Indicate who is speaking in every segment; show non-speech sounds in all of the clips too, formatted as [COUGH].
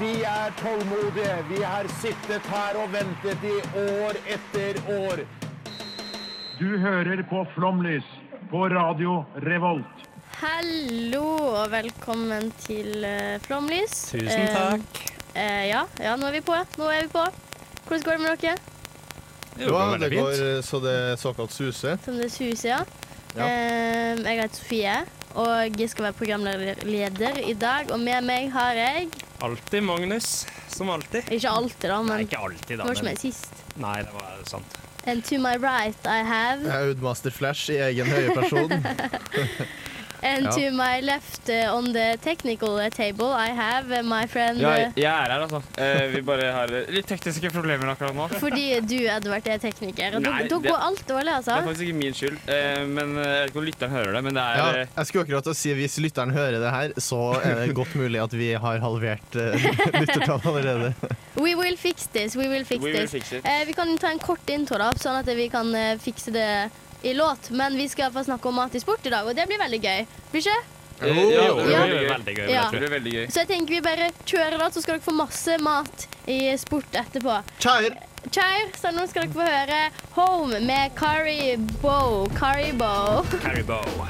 Speaker 1: Vi er tålmodige. Vi har sittet her og ventet i år etter år.
Speaker 2: Du hører på Flomlys på Radio Revolt.
Speaker 3: Hallo og velkommen til eh, Flomlys.
Speaker 4: Tusen takk.
Speaker 3: Eh, eh, ja, ja, nå er vi på. Nå er vi på. Hvordan går det med dere?
Speaker 4: Det
Speaker 5: Jo,
Speaker 4: går
Speaker 5: det
Speaker 4: veldig
Speaker 5: går
Speaker 4: fint.
Speaker 5: eh, så det såkalt suser.
Speaker 3: Som det suser, ja.
Speaker 5: Ja.
Speaker 3: Eh, jeg heter Sofie og jeg skal være programleder i dag. Og med meg har jeg
Speaker 4: Alltid Magnus, som alltid.
Speaker 3: Ikke alltid, da,
Speaker 4: Nei,
Speaker 3: men
Speaker 4: ikke alltid,
Speaker 3: det
Speaker 4: da.
Speaker 3: var som
Speaker 4: men-
Speaker 3: jeg sist.
Speaker 4: Nei, det var sant.
Speaker 3: And to my right I have.
Speaker 5: Audmaster Flash i egen høye person.
Speaker 3: And
Speaker 5: Ja.
Speaker 3: to my left eh, on the technical eh, table I have eh, my friend
Speaker 6: Ja,
Speaker 3: eh,
Speaker 6: jeg er her, altså. Eh, vi bare har litt tekniske problemer akkurat nå. Det
Speaker 3: eh, Fordi du, Edvard, er tekniker. Og da
Speaker 6: Nei,
Speaker 3: da
Speaker 6: det-
Speaker 3: går alt dårlig, altså.
Speaker 6: er faktisk ikke min skyld, eh, men eh, jeg vet ikke om lytteren hører det. Men det
Speaker 5: Ja,
Speaker 6: er eh,
Speaker 5: jeg skulle akkurat til å si Hvis lytteren hører det her, så er det godt mulig at vi har halvert eh, [LAUGHS] lyttertallet allerede.
Speaker 3: We will fix this. We will fix
Speaker 6: We will
Speaker 3: this.
Speaker 6: fix it.
Speaker 3: Eh, vi kan ta en kort intro, da, sånn at vi kan eh, fikse det i låt. Men vi skal få snakke om mat i sport i dag, og det blir veldig gøy. Blir ikke? det?
Speaker 6: eh,
Speaker 5: Jo,
Speaker 6: ja,
Speaker 5: jo,
Speaker 3: jo,
Speaker 6: det blir
Speaker 4: jo,
Speaker 6: veldig
Speaker 4: veldig
Speaker 6: gøy.
Speaker 4: gøy,
Speaker 6: men
Speaker 3: Ja.
Speaker 6: jeg tror det blir veldig gøy.
Speaker 3: Så jeg tenker vi bare kjører, da, så skal dere få masse mat i sport etterpå.
Speaker 5: Kjær!
Speaker 3: Kjør, så nå skal dere få høre Home med Kari Bo. Kari Bo.
Speaker 4: Haribo.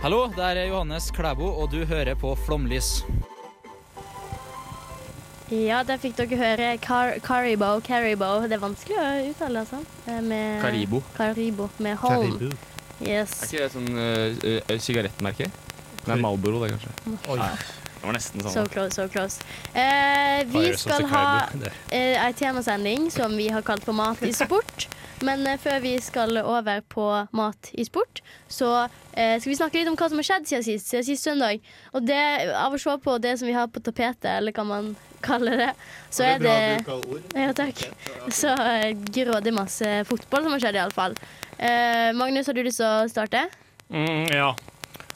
Speaker 7: Hallo, der er Johannes Klæbo, og du hører på Flomlys.
Speaker 3: [LAUGHS] Ja, der fikk dere høre Car Caribo, Caribo. Det er vanskelig å uttale, altså. Eh, Med
Speaker 6: Karibo.
Speaker 3: Caribo med Home.
Speaker 6: Er
Speaker 3: Yes.
Speaker 6: ikke det sånn eh, eh, sigarettmerke? Nei, Malboro, det, kanskje.
Speaker 5: Oi.
Speaker 6: Det var nesten
Speaker 3: So
Speaker 6: sånn.
Speaker 3: close, so close. Eh, vi
Speaker 4: Bare så
Speaker 3: skal
Speaker 4: til
Speaker 3: ha
Speaker 4: Karibo. Det-
Speaker 3: eh, ei temasending som vi har kalt for Mat i sport. Men eh, før vi skal over på mat i sport, så eh, skal vi snakke litt om hva som har skjedd siden sist, siden sist søndag. Og det, av å se på det som vi har på tapetet, eller hva man kaller det, så er det Ja, takk. Så eh, grådig masse fotball som har skjedd, iallfall. Eh, Magnus, har du lyst til å starte?
Speaker 4: Mm, ja.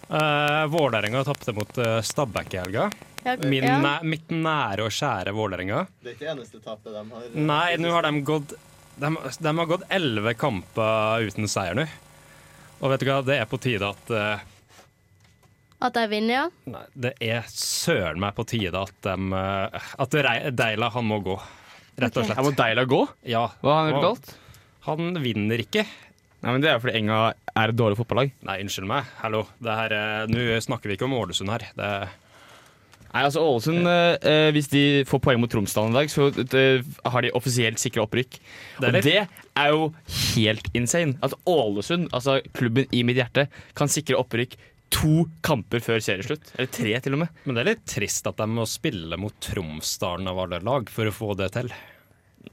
Speaker 4: Uh, Vålerenga tapte mot eh, Stabæk i helga.
Speaker 3: Ja,
Speaker 4: Min,
Speaker 3: ja.
Speaker 4: næ- Mitt nære og kjære Vålerenga.
Speaker 5: Det er ikke eneste tapet de har. eh.
Speaker 4: Nei, nå har de gått de, de har gått elleve kamper uten seier nå. Og vet du hva, det er på tide at eh,
Speaker 3: At de vinner, ja?
Speaker 4: Nei, det er søren meg på tide at de eh, At Rei- Deila, han må gå. Rett og
Speaker 3: Ok.
Speaker 4: slett.
Speaker 6: Jeg må Deila gå?
Speaker 4: Ja,
Speaker 6: Hva har han
Speaker 4: Wow.
Speaker 6: gjort galt?
Speaker 4: han vinner ikke.
Speaker 6: Nei, men Det er jo fordi Enga er et dårlig fotballag.
Speaker 4: Nei, unnskyld meg. Hallo. Det her, eh, Nå snakker vi ikke om Ålesund her. Det,
Speaker 6: Nei, altså Ålesund, eh, eh, Hvis de får poeng mot Tromsdalen i dag, så eh, har de offisielt sikra opprykk.
Speaker 4: Det er
Speaker 6: og det er jo helt insane. At Ålesund, altså klubben i mitt hjerte, kan sikre opprykk to kamper før serieslutt. Eller tre, til og med.
Speaker 4: men det er litt trist at de må spille mot Tromsdalen av alle lag for å få det til.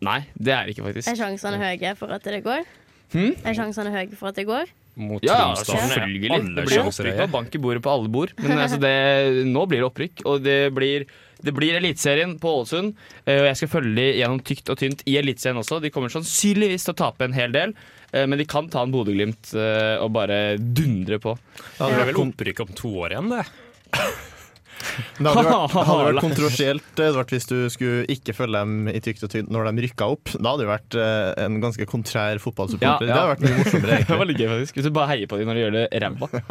Speaker 6: Nei, det er det ikke,
Speaker 3: Er
Speaker 6: faktisk.
Speaker 3: sjansene høye for at det går?
Speaker 6: Hmm?
Speaker 3: Er sjansene høye for at det går?
Speaker 4: Mot
Speaker 6: Ja, ja,
Speaker 4: Tromsdalen. liksom.
Speaker 6: selvfølgelig.
Speaker 4: Alle
Speaker 6: Det blir jo
Speaker 4: sjanser
Speaker 6: opprykk
Speaker 4: er
Speaker 6: og bank i bordet på alle bord. Men altså, det, nå blir det opprykk, og det blir, det blir Eliteserien på Ålesund. Eh, Og jeg skal følge de gjennom tykt og tynt i Eliteserien også. De kommer sannsynligvis til å tape en hel del, eh, men de kan ta en Bodø-Glimt eh, og bare dundre på.
Speaker 5: Det
Speaker 4: Det
Speaker 5: hadde
Speaker 4: er vel
Speaker 5: vært, kon-
Speaker 4: opprykk om to år igjen, det.
Speaker 5: det hadde vært, det hadde vært kontroversielt eh, Edvard, hvis du skulle ikke følge dem i tykt og tynt når de rykka opp. Da hadde du vært eh, en ganske kontrær
Speaker 6: Ja,
Speaker 5: fotballsupporter.
Speaker 6: ja.
Speaker 5: Det hadde vært mye morsommere,
Speaker 6: [LAUGHS] Det var
Speaker 5: egentlig.
Speaker 6: litt gøy, faktisk. Hvis du bare heier på dem når de gjør det ræva. [LAUGHS]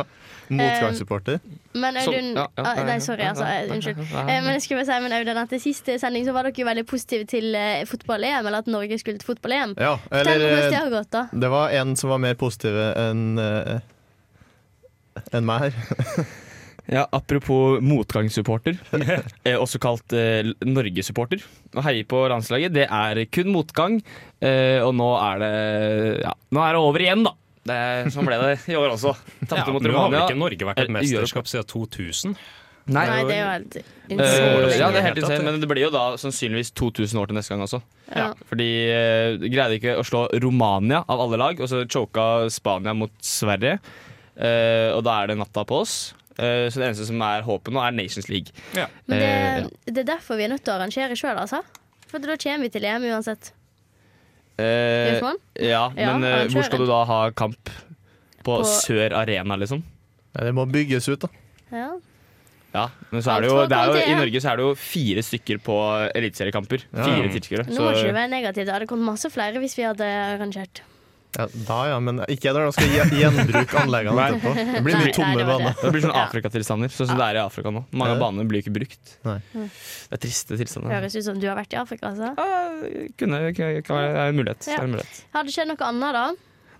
Speaker 5: Motgangssupporter.
Speaker 3: Men
Speaker 6: Sånn,
Speaker 3: Audun
Speaker 6: ja, ja,
Speaker 3: ah,
Speaker 6: ja,
Speaker 3: Nei,
Speaker 6: ja,
Speaker 3: sorry,
Speaker 6: ja,
Speaker 3: altså.
Speaker 6: ja,
Speaker 3: eh,
Speaker 6: ja,
Speaker 3: Unnskyld.
Speaker 6: ja, ja.
Speaker 3: Eh, Men jeg skulle bare si, men Audun, at i siste sending så var dere jo veldig positive til eh, fotball-EM, eller at Norge skulle til fotball-EM.
Speaker 5: Ja,
Speaker 3: Fortell
Speaker 5: eller
Speaker 3: hvordan
Speaker 5: eh,
Speaker 3: det har gått, da.
Speaker 5: Det var en som var mer positiv enn eh, enn meg her.
Speaker 6: Ja, apropos
Speaker 4: [LAUGHS]
Speaker 6: motgangssupporter, eh, også kalt eh, Norgesupporter. Å heie på landslaget, det er kun motgang. Eh, og nå er det ja, Nå er det over igjen, da. Det er, sånn ble det i år også.
Speaker 4: Ja,
Speaker 6: Tapte mot
Speaker 4: nå har vel
Speaker 6: Romania.
Speaker 4: ikke Norge vært et
Speaker 6: Eh,
Speaker 4: mesterskap siden 2000?
Speaker 6: Nei,
Speaker 3: Nei, det er jo helt
Speaker 6: eh,
Speaker 3: insane.
Speaker 6: ja, det er helt insane,
Speaker 4: altså.
Speaker 6: men det blir jo da sannsynligvis 2000 år til neste gang også.
Speaker 3: Ja.
Speaker 6: Fordi eh, de greide ikke å slå Romania av alle lag, og så choka Spania mot Sverige. Eh, og da er det natta på oss. Eh, så det eneste som er håpet nå, er Nations League.
Speaker 4: Ja.
Speaker 3: Men
Speaker 6: Eh, ja.
Speaker 3: det, det er derfor vi er nødt til å arrangere sjøl, altså. For da kommer vi til EM uansett.
Speaker 6: Eh,
Speaker 3: Bjørsvold?
Speaker 6: ja,
Speaker 3: Ja,
Speaker 6: men eh,
Speaker 3: arrangøren.
Speaker 6: hvor skal du da ha kamp? På,
Speaker 3: På-
Speaker 6: Sør Arena, liksom?
Speaker 5: Nei, Det må bygges ut, da.
Speaker 3: Ja.
Speaker 6: Ja, men så
Speaker 3: Alt
Speaker 6: er det jo,
Speaker 3: for å
Speaker 6: det er jo I
Speaker 3: kommentere.
Speaker 6: Norge så er det jo fire stykker på eliteseriekamper. Fire tilskuere.
Speaker 3: Nå
Speaker 6: så-
Speaker 3: må ikke du være negativ. Det hadde kommet masse flere hvis vi hadde arrangert.
Speaker 5: Ja, da ja, men ikke jeg når de skal gje- gjenbruke anleggene
Speaker 6: Nei.
Speaker 5: etterpå. Det blir
Speaker 3: Nei,
Speaker 5: mye
Speaker 3: nei,
Speaker 5: tomme
Speaker 3: det var
Speaker 5: baner.
Speaker 6: Det blir sånn
Speaker 3: Ja.
Speaker 6: Afrikatilstander. Sånn som det er i Afrika nå. Mange
Speaker 5: Ja.
Speaker 6: av banene blir ikke brukt.
Speaker 5: Nei.
Speaker 3: Mm.
Speaker 6: Det er triste tilstander.
Speaker 3: Høres ut som du har vært i Afrika, altså.
Speaker 6: Ja, kunne, kan, kan være, det er en mulighet. Det er en mulighet.
Speaker 3: Har det skjedd noe annet da?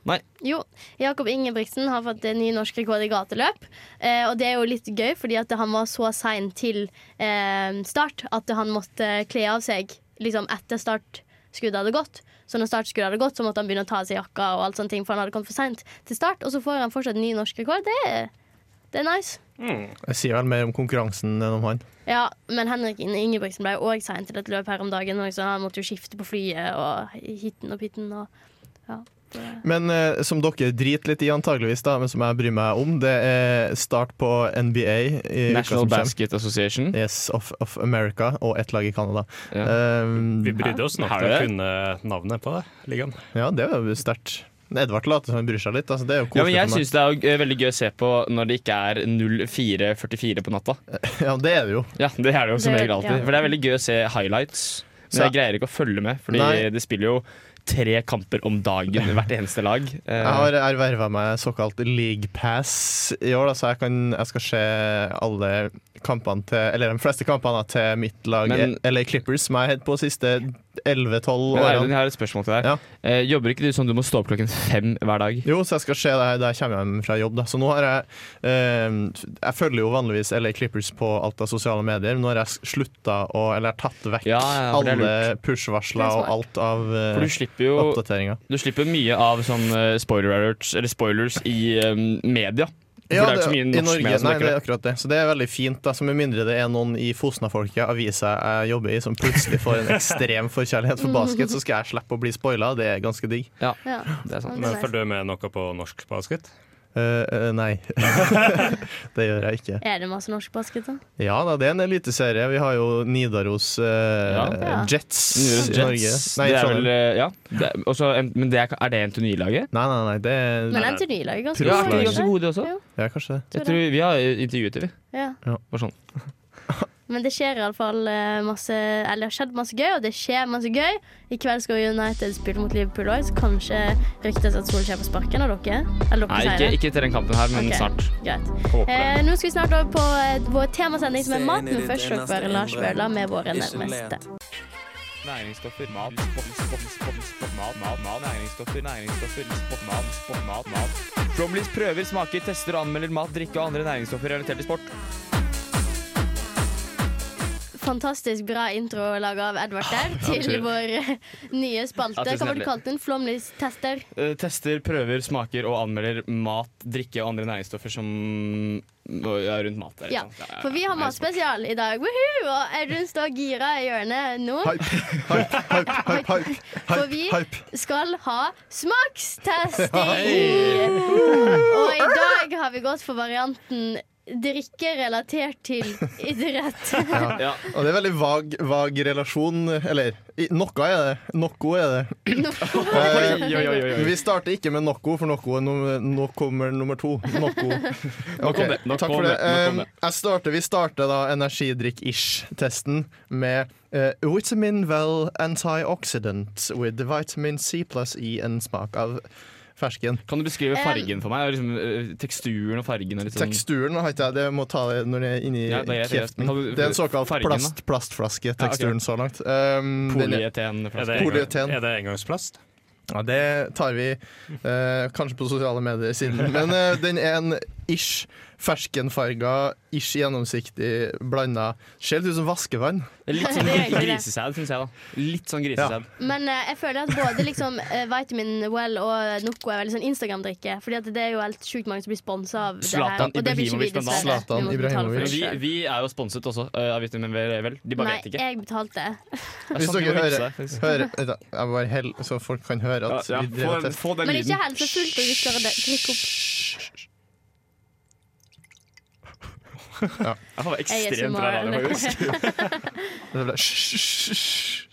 Speaker 6: Nei.
Speaker 3: Jo, Jakob Ingebrigtsen har fått en ny norsk rekord i gateløp. Eh, og det er jo litt gøy, fordi at han var så sein til eh, start at han måtte kle av seg liksom etter startskuddet hadde gått. Så når startskuddet hadde gått, så måtte han begynne å ta av seg jakka, og alt sånne ting, for han hadde kommet for seint til start. Og så får han fortsatt en ny norsk rekord. Det er, det er nice.
Speaker 5: Jeg sier vel mer om konkurransen enn om han.
Speaker 3: Ja, men Henrik Ingebrigtsen ble jo òg sein til et løp her om dagen. og Liksom. Han måtte jo skifte på flyet og hitten og pitten. Og, ja, det.
Speaker 5: Men eh, som dere driter litt i antageligvis, da, men som jeg bryr meg om, det er start på NBA i uka
Speaker 6: National
Speaker 5: som kommer.
Speaker 6: Basket Association.
Speaker 5: Yes, of, of America og ett lag i Canada.
Speaker 6: Ja.
Speaker 5: Um,
Speaker 4: Vi brydde oss nok
Speaker 6: Har
Speaker 4: til å
Speaker 6: du det?
Speaker 4: kunne navnet på det. ligaen.
Speaker 5: ja, det er jo sterkt. Edvard later som han bryr seg litt. Altså, det er jo
Speaker 6: Ja, men
Speaker 5: koselig
Speaker 6: jeg
Speaker 5: for meg.
Speaker 6: syns det er jo, eh, veldig gøy å se på når det ikke er 04.44 på natta.
Speaker 5: Ja, det er det jo.
Speaker 6: Ja, Det er det jo som
Speaker 3: Det-
Speaker 6: regel alltid.
Speaker 3: ja.
Speaker 6: For det er veldig gøy å se highlights. Men jeg
Speaker 5: Så-
Speaker 6: greier ikke å følge med, Fordi
Speaker 5: Nei.
Speaker 6: det spiller jo tre kamper om dagen hvert eneste lag. Eh,
Speaker 5: [LAUGHS] Jeg har erverva meg såkalt league pass i år, da, så jeg, kan, jeg skal se alle kampene til Eller de fleste kampene da, til mitt lag,
Speaker 6: Men-
Speaker 5: LA Clippers, som jeg har hatt på de siste 11-12
Speaker 6: men Erlend,
Speaker 5: årene.
Speaker 6: jeg har et spørsmål til deg.
Speaker 5: Ja.
Speaker 6: Eh, jobber ikke du sånn du må stå opp klokken fem hver dag?
Speaker 5: Jo, så jeg skal se det her da jeg kommer hjem fra jobb. Da. Så nå har jeg eh, Jeg følger jo vanligvis LA Clippers på alt av sosiale medier, men nå har jeg slutta å Eller jeg har tatt vekk
Speaker 6: Ja, ja, for det er
Speaker 5: alle
Speaker 6: lurt.
Speaker 3: Det er
Speaker 5: push-varsler og alt av eh,
Speaker 6: For du slipper jo
Speaker 5: oppdateringer.
Speaker 6: Du slipper mye av sånn eh, spoiler alerts, eller spoilers i eh, media. For det er jo ikke så mye
Speaker 5: i
Speaker 6: norsk media som
Speaker 5: nei,
Speaker 6: dekker
Speaker 5: det er
Speaker 6: det.
Speaker 5: akkurat det. Så det er veldig fint, da, så med mindre det er noen i Fosna-folket, avisa jeg jobber i, som plutselig får
Speaker 6: [LAUGHS]
Speaker 5: en ekstrem forkjærlighet for basket, så skal jeg slippe å bli spoila. Det er ganske digg.
Speaker 3: Ja.
Speaker 6: Det er sånn. sant.
Speaker 3: Mm.
Speaker 4: Men følger du med noe på norsk basket?
Speaker 5: Eh,
Speaker 6: [LAUGHS]
Speaker 5: eh, nei. det gjør jeg ikke.
Speaker 3: Er det masse norsk basket, da?
Speaker 5: Ja da, det er en eliteserie. Vi har jo Nidaros eh,
Speaker 6: Ja.
Speaker 5: Jets
Speaker 6: Nidaros
Speaker 5: i Norge.
Speaker 6: Jets.
Speaker 5: Nei,
Speaker 6: det
Speaker 5: i
Speaker 6: er
Speaker 5: Trondheim.
Speaker 6: vel, eh, ja. Det er, også, en- men det er, er det NTNY-laget?
Speaker 5: Nei, nei, nei, det er
Speaker 3: Men NTNY-laget er ganske
Speaker 6: Ja,
Speaker 5: Profflag.
Speaker 6: er
Speaker 3: bra,
Speaker 6: de
Speaker 3: ikke
Speaker 6: ganske
Speaker 3: det?
Speaker 6: gode, de også?
Speaker 3: Jo.
Speaker 5: Ja, kanskje det.
Speaker 6: Jeg tror vi har intervjuet dem, vi.
Speaker 3: Ja.
Speaker 6: Bare [LAUGHS] sånn.
Speaker 3: Men det skjer iallfall eh, masse Eller det har skjedd masse gøy, og det skjer masse gøy. I kveld skal United spille mot Liverpool òg, så kanskje ryktes at Solskjær får sparken av dere. Eller dere
Speaker 6: Nei, ikke,
Speaker 3: sier det.
Speaker 6: ikke til den kampen her, men
Speaker 3: Ok.
Speaker 6: snart.
Speaker 3: Greit.
Speaker 6: Håper det.
Speaker 3: Eh, nå skal vi snart over på eh, vår temasending som er mat, men først skal dere høre Lars Bøhler med Våre nærmeste.
Speaker 6: Næringsstoffer, mat, sport, sport, sport, sport, mat, mat, mat, næringsstoffer, næringsstoffer, sport, mat, sport, mat, mat. Flomlys prøver, smaker, tester og anmelder mat, drikke og andre næringsstoffer relatert til sport.
Speaker 3: Fantastisk bra intro laga av Edvard
Speaker 6: Ah,
Speaker 3: der til
Speaker 6: tusen.
Speaker 3: vår eh, nye spalte.
Speaker 6: Ja,
Speaker 3: Hva var
Speaker 6: tusen
Speaker 3: det
Speaker 6: hjertelig.
Speaker 3: du kalt den? Flomlystester?
Speaker 6: Eh, tester, prøver, smaker og anmelder mat, drikke og andre næringsstoffer som er rundt mat. Der, ikke
Speaker 3: Ja,
Speaker 6: sant? Ja, ja,
Speaker 3: for vi har
Speaker 6: ja, det er sport.
Speaker 3: matspesial i dag. Woohoo! Og Audun står gira i hjørnet nå.
Speaker 5: Hype, hype, hype, hype,
Speaker 3: For
Speaker 5: hype,
Speaker 3: vi
Speaker 5: hype.
Speaker 3: skal ha
Speaker 6: Hei!
Speaker 3: smakstesting! Og i dag har vi gått for varianten drikke relatert til
Speaker 6: [LAUGHS]
Speaker 3: idrett.
Speaker 6: Ja.
Speaker 5: Og det er veldig vag, vag relasjon. Eller i- noe er det. Noe er det. Eh,
Speaker 6: Oi, oi, oi, oi.
Speaker 5: Vi starter ikke med Nocco, for Nocco er nummer- nå kommer nummer to.
Speaker 6: [LAUGHS]
Speaker 5: Nocco. Ok,
Speaker 6: om det, nok
Speaker 5: Takk
Speaker 6: om
Speaker 5: for det.
Speaker 6: det, nok om
Speaker 5: Um,
Speaker 6: det.
Speaker 5: Jeg starter, vi starter da energidrikk-ish-testen med eh, vitamin well antioxidant with vitamin C plus E, en smak av fersken.
Speaker 6: Kan du beskrive fargen for meg? Og Liksom, eh, teksturen og fargen. Og litt sånn.
Speaker 5: Teksturen har ikke jeg, det må ta det når det er inni
Speaker 6: Ja, det er greit, det er greit.
Speaker 5: kjeften.
Speaker 6: Men kan du-
Speaker 5: Det er en såkalt
Speaker 6: fargen, da?
Speaker 5: plast, plastflaske-teksturen
Speaker 6: Ja, ok.
Speaker 5: så langt. Um, den er-
Speaker 4: Er
Speaker 6: Polyeten-flaske.
Speaker 4: det,
Speaker 5: Polyeten.
Speaker 4: engang, er det engangsplast?
Speaker 5: Ja, det tar vi eh, kanskje på sosiale medier siden. [LAUGHS] Men eh, den er en ish ferskenfarga, ish gjennomsiktig, blanda Ser litt ut som vaskevann.
Speaker 6: Litt sånn
Speaker 3: [LAUGHS] Det er egentlig det.
Speaker 6: grisesæd, syns jeg. da Litt sånn grisesæd.
Speaker 3: Men eh, jeg føler at både liksom, eh, Vitamin Well og Noco er veldig sånn Instagram-drikke. Fordi at det er jo helt sjukt mange som blir sponsa av det her.
Speaker 6: Zlatan
Speaker 3: Og det blir ikke vi,
Speaker 6: Ibrahimovic, blant annet.
Speaker 3: dessverre. Vi
Speaker 5: Zlatan
Speaker 3: må betale for
Speaker 5: Ibrahimovic.
Speaker 3: det
Speaker 6: Men vi,
Speaker 3: selv.
Speaker 6: vi er jo sponset også eh, av Vitamin V. Vel, de bare
Speaker 3: Nei,
Speaker 6: vet ikke.
Speaker 3: jeg betalte.
Speaker 6: Det er
Speaker 5: Hvis
Speaker 6: sant, de
Speaker 5: dere
Speaker 6: må
Speaker 5: hører,
Speaker 6: vise seg.
Speaker 5: hører vent da, Jeg må være hell, så folk kan høre at
Speaker 6: Ja, ja,
Speaker 5: vi driver og tester.
Speaker 6: få
Speaker 3: Men ikke helt så fullt, og vi skal drikke opp.
Speaker 6: Jeg har
Speaker 3: Jeg er
Speaker 6: ekstremt bra
Speaker 3: [LAUGHS]
Speaker 6: radio,
Speaker 3: smart.
Speaker 6: faktisk.
Speaker 5: Det ble- Hysj, hysj, hysj, hysj.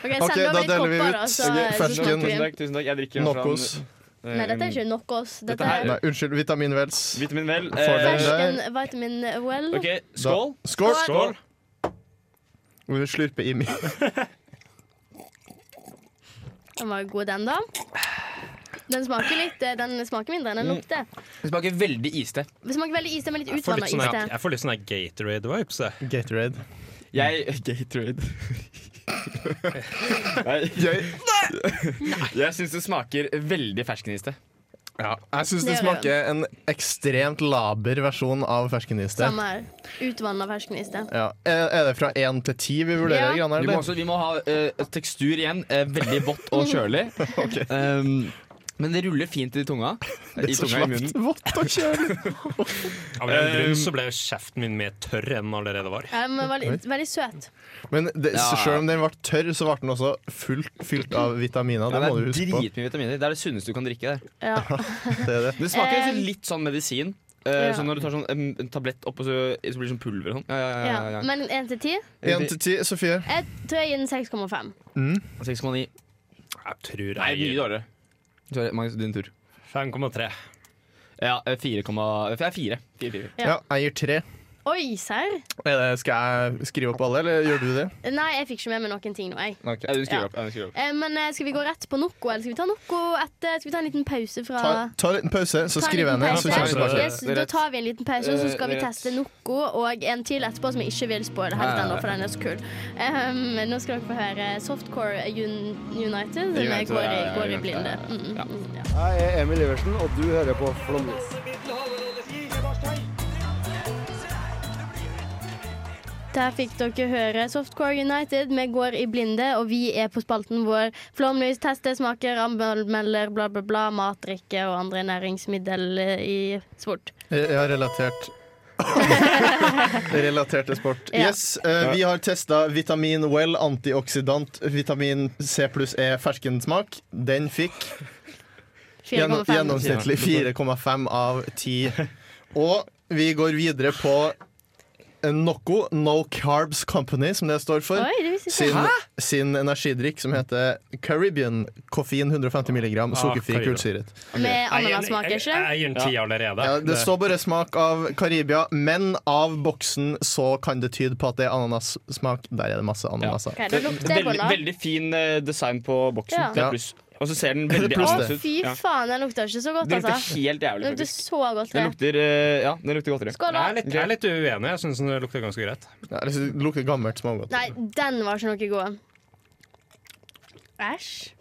Speaker 3: Ok,
Speaker 5: Ok,
Speaker 3: send
Speaker 5: da
Speaker 3: meg litt
Speaker 5: deler vi
Speaker 3: kopper,
Speaker 5: ut.
Speaker 3: da, så, så
Speaker 5: Ok, fersken.
Speaker 3: snakker vi.
Speaker 6: Tusen takk. tusen takk Jeg drikker eh,
Speaker 5: Nocos.
Speaker 3: Nei, dette er ikke Nokos. Dette
Speaker 6: Dette
Speaker 3: er
Speaker 6: her-
Speaker 5: Nei, unnskyld. Vitamin Wells.
Speaker 6: Vitamin vel. Eh,
Speaker 5: Fordel.
Speaker 3: fersken vitamin well.
Speaker 6: ok, skål.
Speaker 5: Da- Skål.
Speaker 6: Skål.
Speaker 5: Og vi slurper i mi- [LAUGHS]
Speaker 3: Den var god, den, da. Den smaker litt eh, Den smaker mindre enn den lukter.
Speaker 6: Det smaker veldig iste.
Speaker 3: Det smaker veldig iste, men litt
Speaker 4: Jeg får
Speaker 3: utvanna
Speaker 4: litt sånn sånne,
Speaker 3: iste.
Speaker 4: jeg får litt sånne Gatorade vibes. jeg.
Speaker 5: Gatorade.
Speaker 6: Jeg
Speaker 5: [LAUGHS]
Speaker 6: Gatorade. Nei,
Speaker 5: Gøy.
Speaker 6: jeg syns det smaker veldig ferskeniste.
Speaker 5: Ja, jeg syns
Speaker 3: Det
Speaker 5: det
Speaker 3: gjør det.
Speaker 5: smaker en ekstremt laber versjon av ferskeniste.
Speaker 3: Samme her. Utvanna ferskeniste.
Speaker 5: Ja. Er, er det fra én til ti vi vurderer,
Speaker 3: Ja.
Speaker 5: Graner?
Speaker 6: Vi må,
Speaker 5: eller?
Speaker 6: også, vi må ha eh, tekstur igjen. eh, veldig vått og kjølig. Um, men det ruller fint i tunga. I tunga i munnen.
Speaker 5: Vått og kjølig.
Speaker 4: Av en eller annen grunn så ble jo kjeften min mer tørr enn den allerede var.
Speaker 3: Ja, men veldig, veldig søt.
Speaker 5: [LAUGHS] Men det,
Speaker 6: Ja.
Speaker 5: selv om den ble tørr, så ble den også fullt, fylt av vitaminer.
Speaker 6: Ja,
Speaker 5: Det
Speaker 6: det
Speaker 5: må du
Speaker 6: er
Speaker 5: huske på.
Speaker 6: dritmye vitaminer. Det er det sunneste du kan drikke. Der.
Speaker 3: Ja.
Speaker 5: Det er det. [LAUGHS]
Speaker 6: Det smaker
Speaker 3: Eh,
Speaker 6: liksom litt sånn medisin. Eh,
Speaker 3: ja.
Speaker 6: Sånn når du tar sånn en, en tablett opp, og så, så blir det sånn pulver og sånn. Ja, ja, ja,
Speaker 3: Ja.
Speaker 6: ja,
Speaker 3: Men én til ti?
Speaker 6: ja.
Speaker 5: Én til ti. Sofie.
Speaker 3: Jeg tror jeg gir den 6,5.
Speaker 6: 6,9.
Speaker 4: Jeg tror
Speaker 6: Nei, mye
Speaker 4: jeg gir
Speaker 6: dårligere. Sorry, Magnus, din tur.
Speaker 4: 5,3.
Speaker 6: Ja, eh, 4, 4. 4, 4.
Speaker 3: Ja.
Speaker 5: Ja, jeg gir tre.
Speaker 3: Oi, serr?
Speaker 5: Er det, skal jeg skrive opp alle, eller gjør du det?
Speaker 3: Nei, jeg fikk ikke med meg noen ting nå, jeg.
Speaker 6: Okay. Ja, du skriver
Speaker 3: Ja.
Speaker 6: opp. Ja, du skriver opp.
Speaker 3: Eh, Men eh, skal vi gå rett på Noco, eller skal vi ta Noco etter? Skal vi ta en liten pause fra
Speaker 5: Ta, ta en liten pause, så skriver jeg ned. Så kommer jeg
Speaker 4: pause.
Speaker 5: tilbake.
Speaker 3: Yes, da tar vi en liten pause, og så skal vi
Speaker 6: Det er rett.
Speaker 3: teste Noco og en til etterpå som jeg ikke vil spoile helt ennå, for den er så kul. Um, nå skal dere få høre Softcore Un United, som
Speaker 6: United,
Speaker 3: jeg går i,
Speaker 6: ja, ja,
Speaker 3: går i
Speaker 6: United,
Speaker 3: blinde.
Speaker 6: ja, ja.
Speaker 3: Mm,
Speaker 6: Ja.
Speaker 3: mm, ja.
Speaker 8: Jeg er Emil Iversen, og du hører på Flåmlys.
Speaker 3: Der fikk dere høre Softcore United. Vi går i blinde, og vi er på spalten vår flomlys, tester, smaker, anmelder, bla, bla, bla, mat, drikke og andre næringsmiddel eh, i sport.
Speaker 5: Jeg har relatert [LAUGHS] Relatert til sport.
Speaker 3: Ja.
Speaker 5: Yes, eh, Vi har testa vitamin well antioxidant vitamin C pluss E ferskensmak. Den fikk gjennom,
Speaker 3: 4,5.
Speaker 5: gjennomsnittlig 4,5 av 10. Og vi går videre på Noco, No Carbs Company, som det står for.
Speaker 3: Oi, det visste jeg
Speaker 5: Sin, sin energidrikk som heter Caribbean koffein 150 mg, sukkerfri
Speaker 4: Caribbean.
Speaker 5: kullsyret.
Speaker 3: ikke. Med ananassmak,
Speaker 4: jeg, jeg,
Speaker 3: ikke?
Speaker 4: jeg gir den 10 allerede.
Speaker 5: Ja, det står bare smak av Karibia, men av boksen så kan det tyde på at det er ananassmak. Der er det masse ananaser.
Speaker 3: Ok, da lukter jeg
Speaker 6: Veldig,
Speaker 3: boller.
Speaker 6: veldig fin eh, design på boksen.
Speaker 3: Ja.
Speaker 6: Det
Speaker 5: Ja.
Speaker 6: er pluss. Og så ser den
Speaker 5: Er det
Speaker 6: veldig
Speaker 5: pluss,
Speaker 6: annerledes
Speaker 5: det?
Speaker 6: ut.
Speaker 3: Fy
Speaker 6: Ja.
Speaker 3: faen, den lukter ikke så godt,
Speaker 6: Den lukter
Speaker 3: altså.
Speaker 6: helt
Speaker 3: Den
Speaker 6: jævlig,
Speaker 3: lukter
Speaker 6: faktisk.
Speaker 3: så godt.
Speaker 6: Den
Speaker 3: det.
Speaker 6: lukter, eh, ja, den lukter godteri.
Speaker 3: Skål,
Speaker 4: Jeg er
Speaker 3: da.
Speaker 4: litt, jeg er litt uenig. Jeg syns den lukter ganske greit.
Speaker 5: Ja, altså, det lukter gammelt smågodt.
Speaker 3: Nei, den var ikke noe god. Æsj.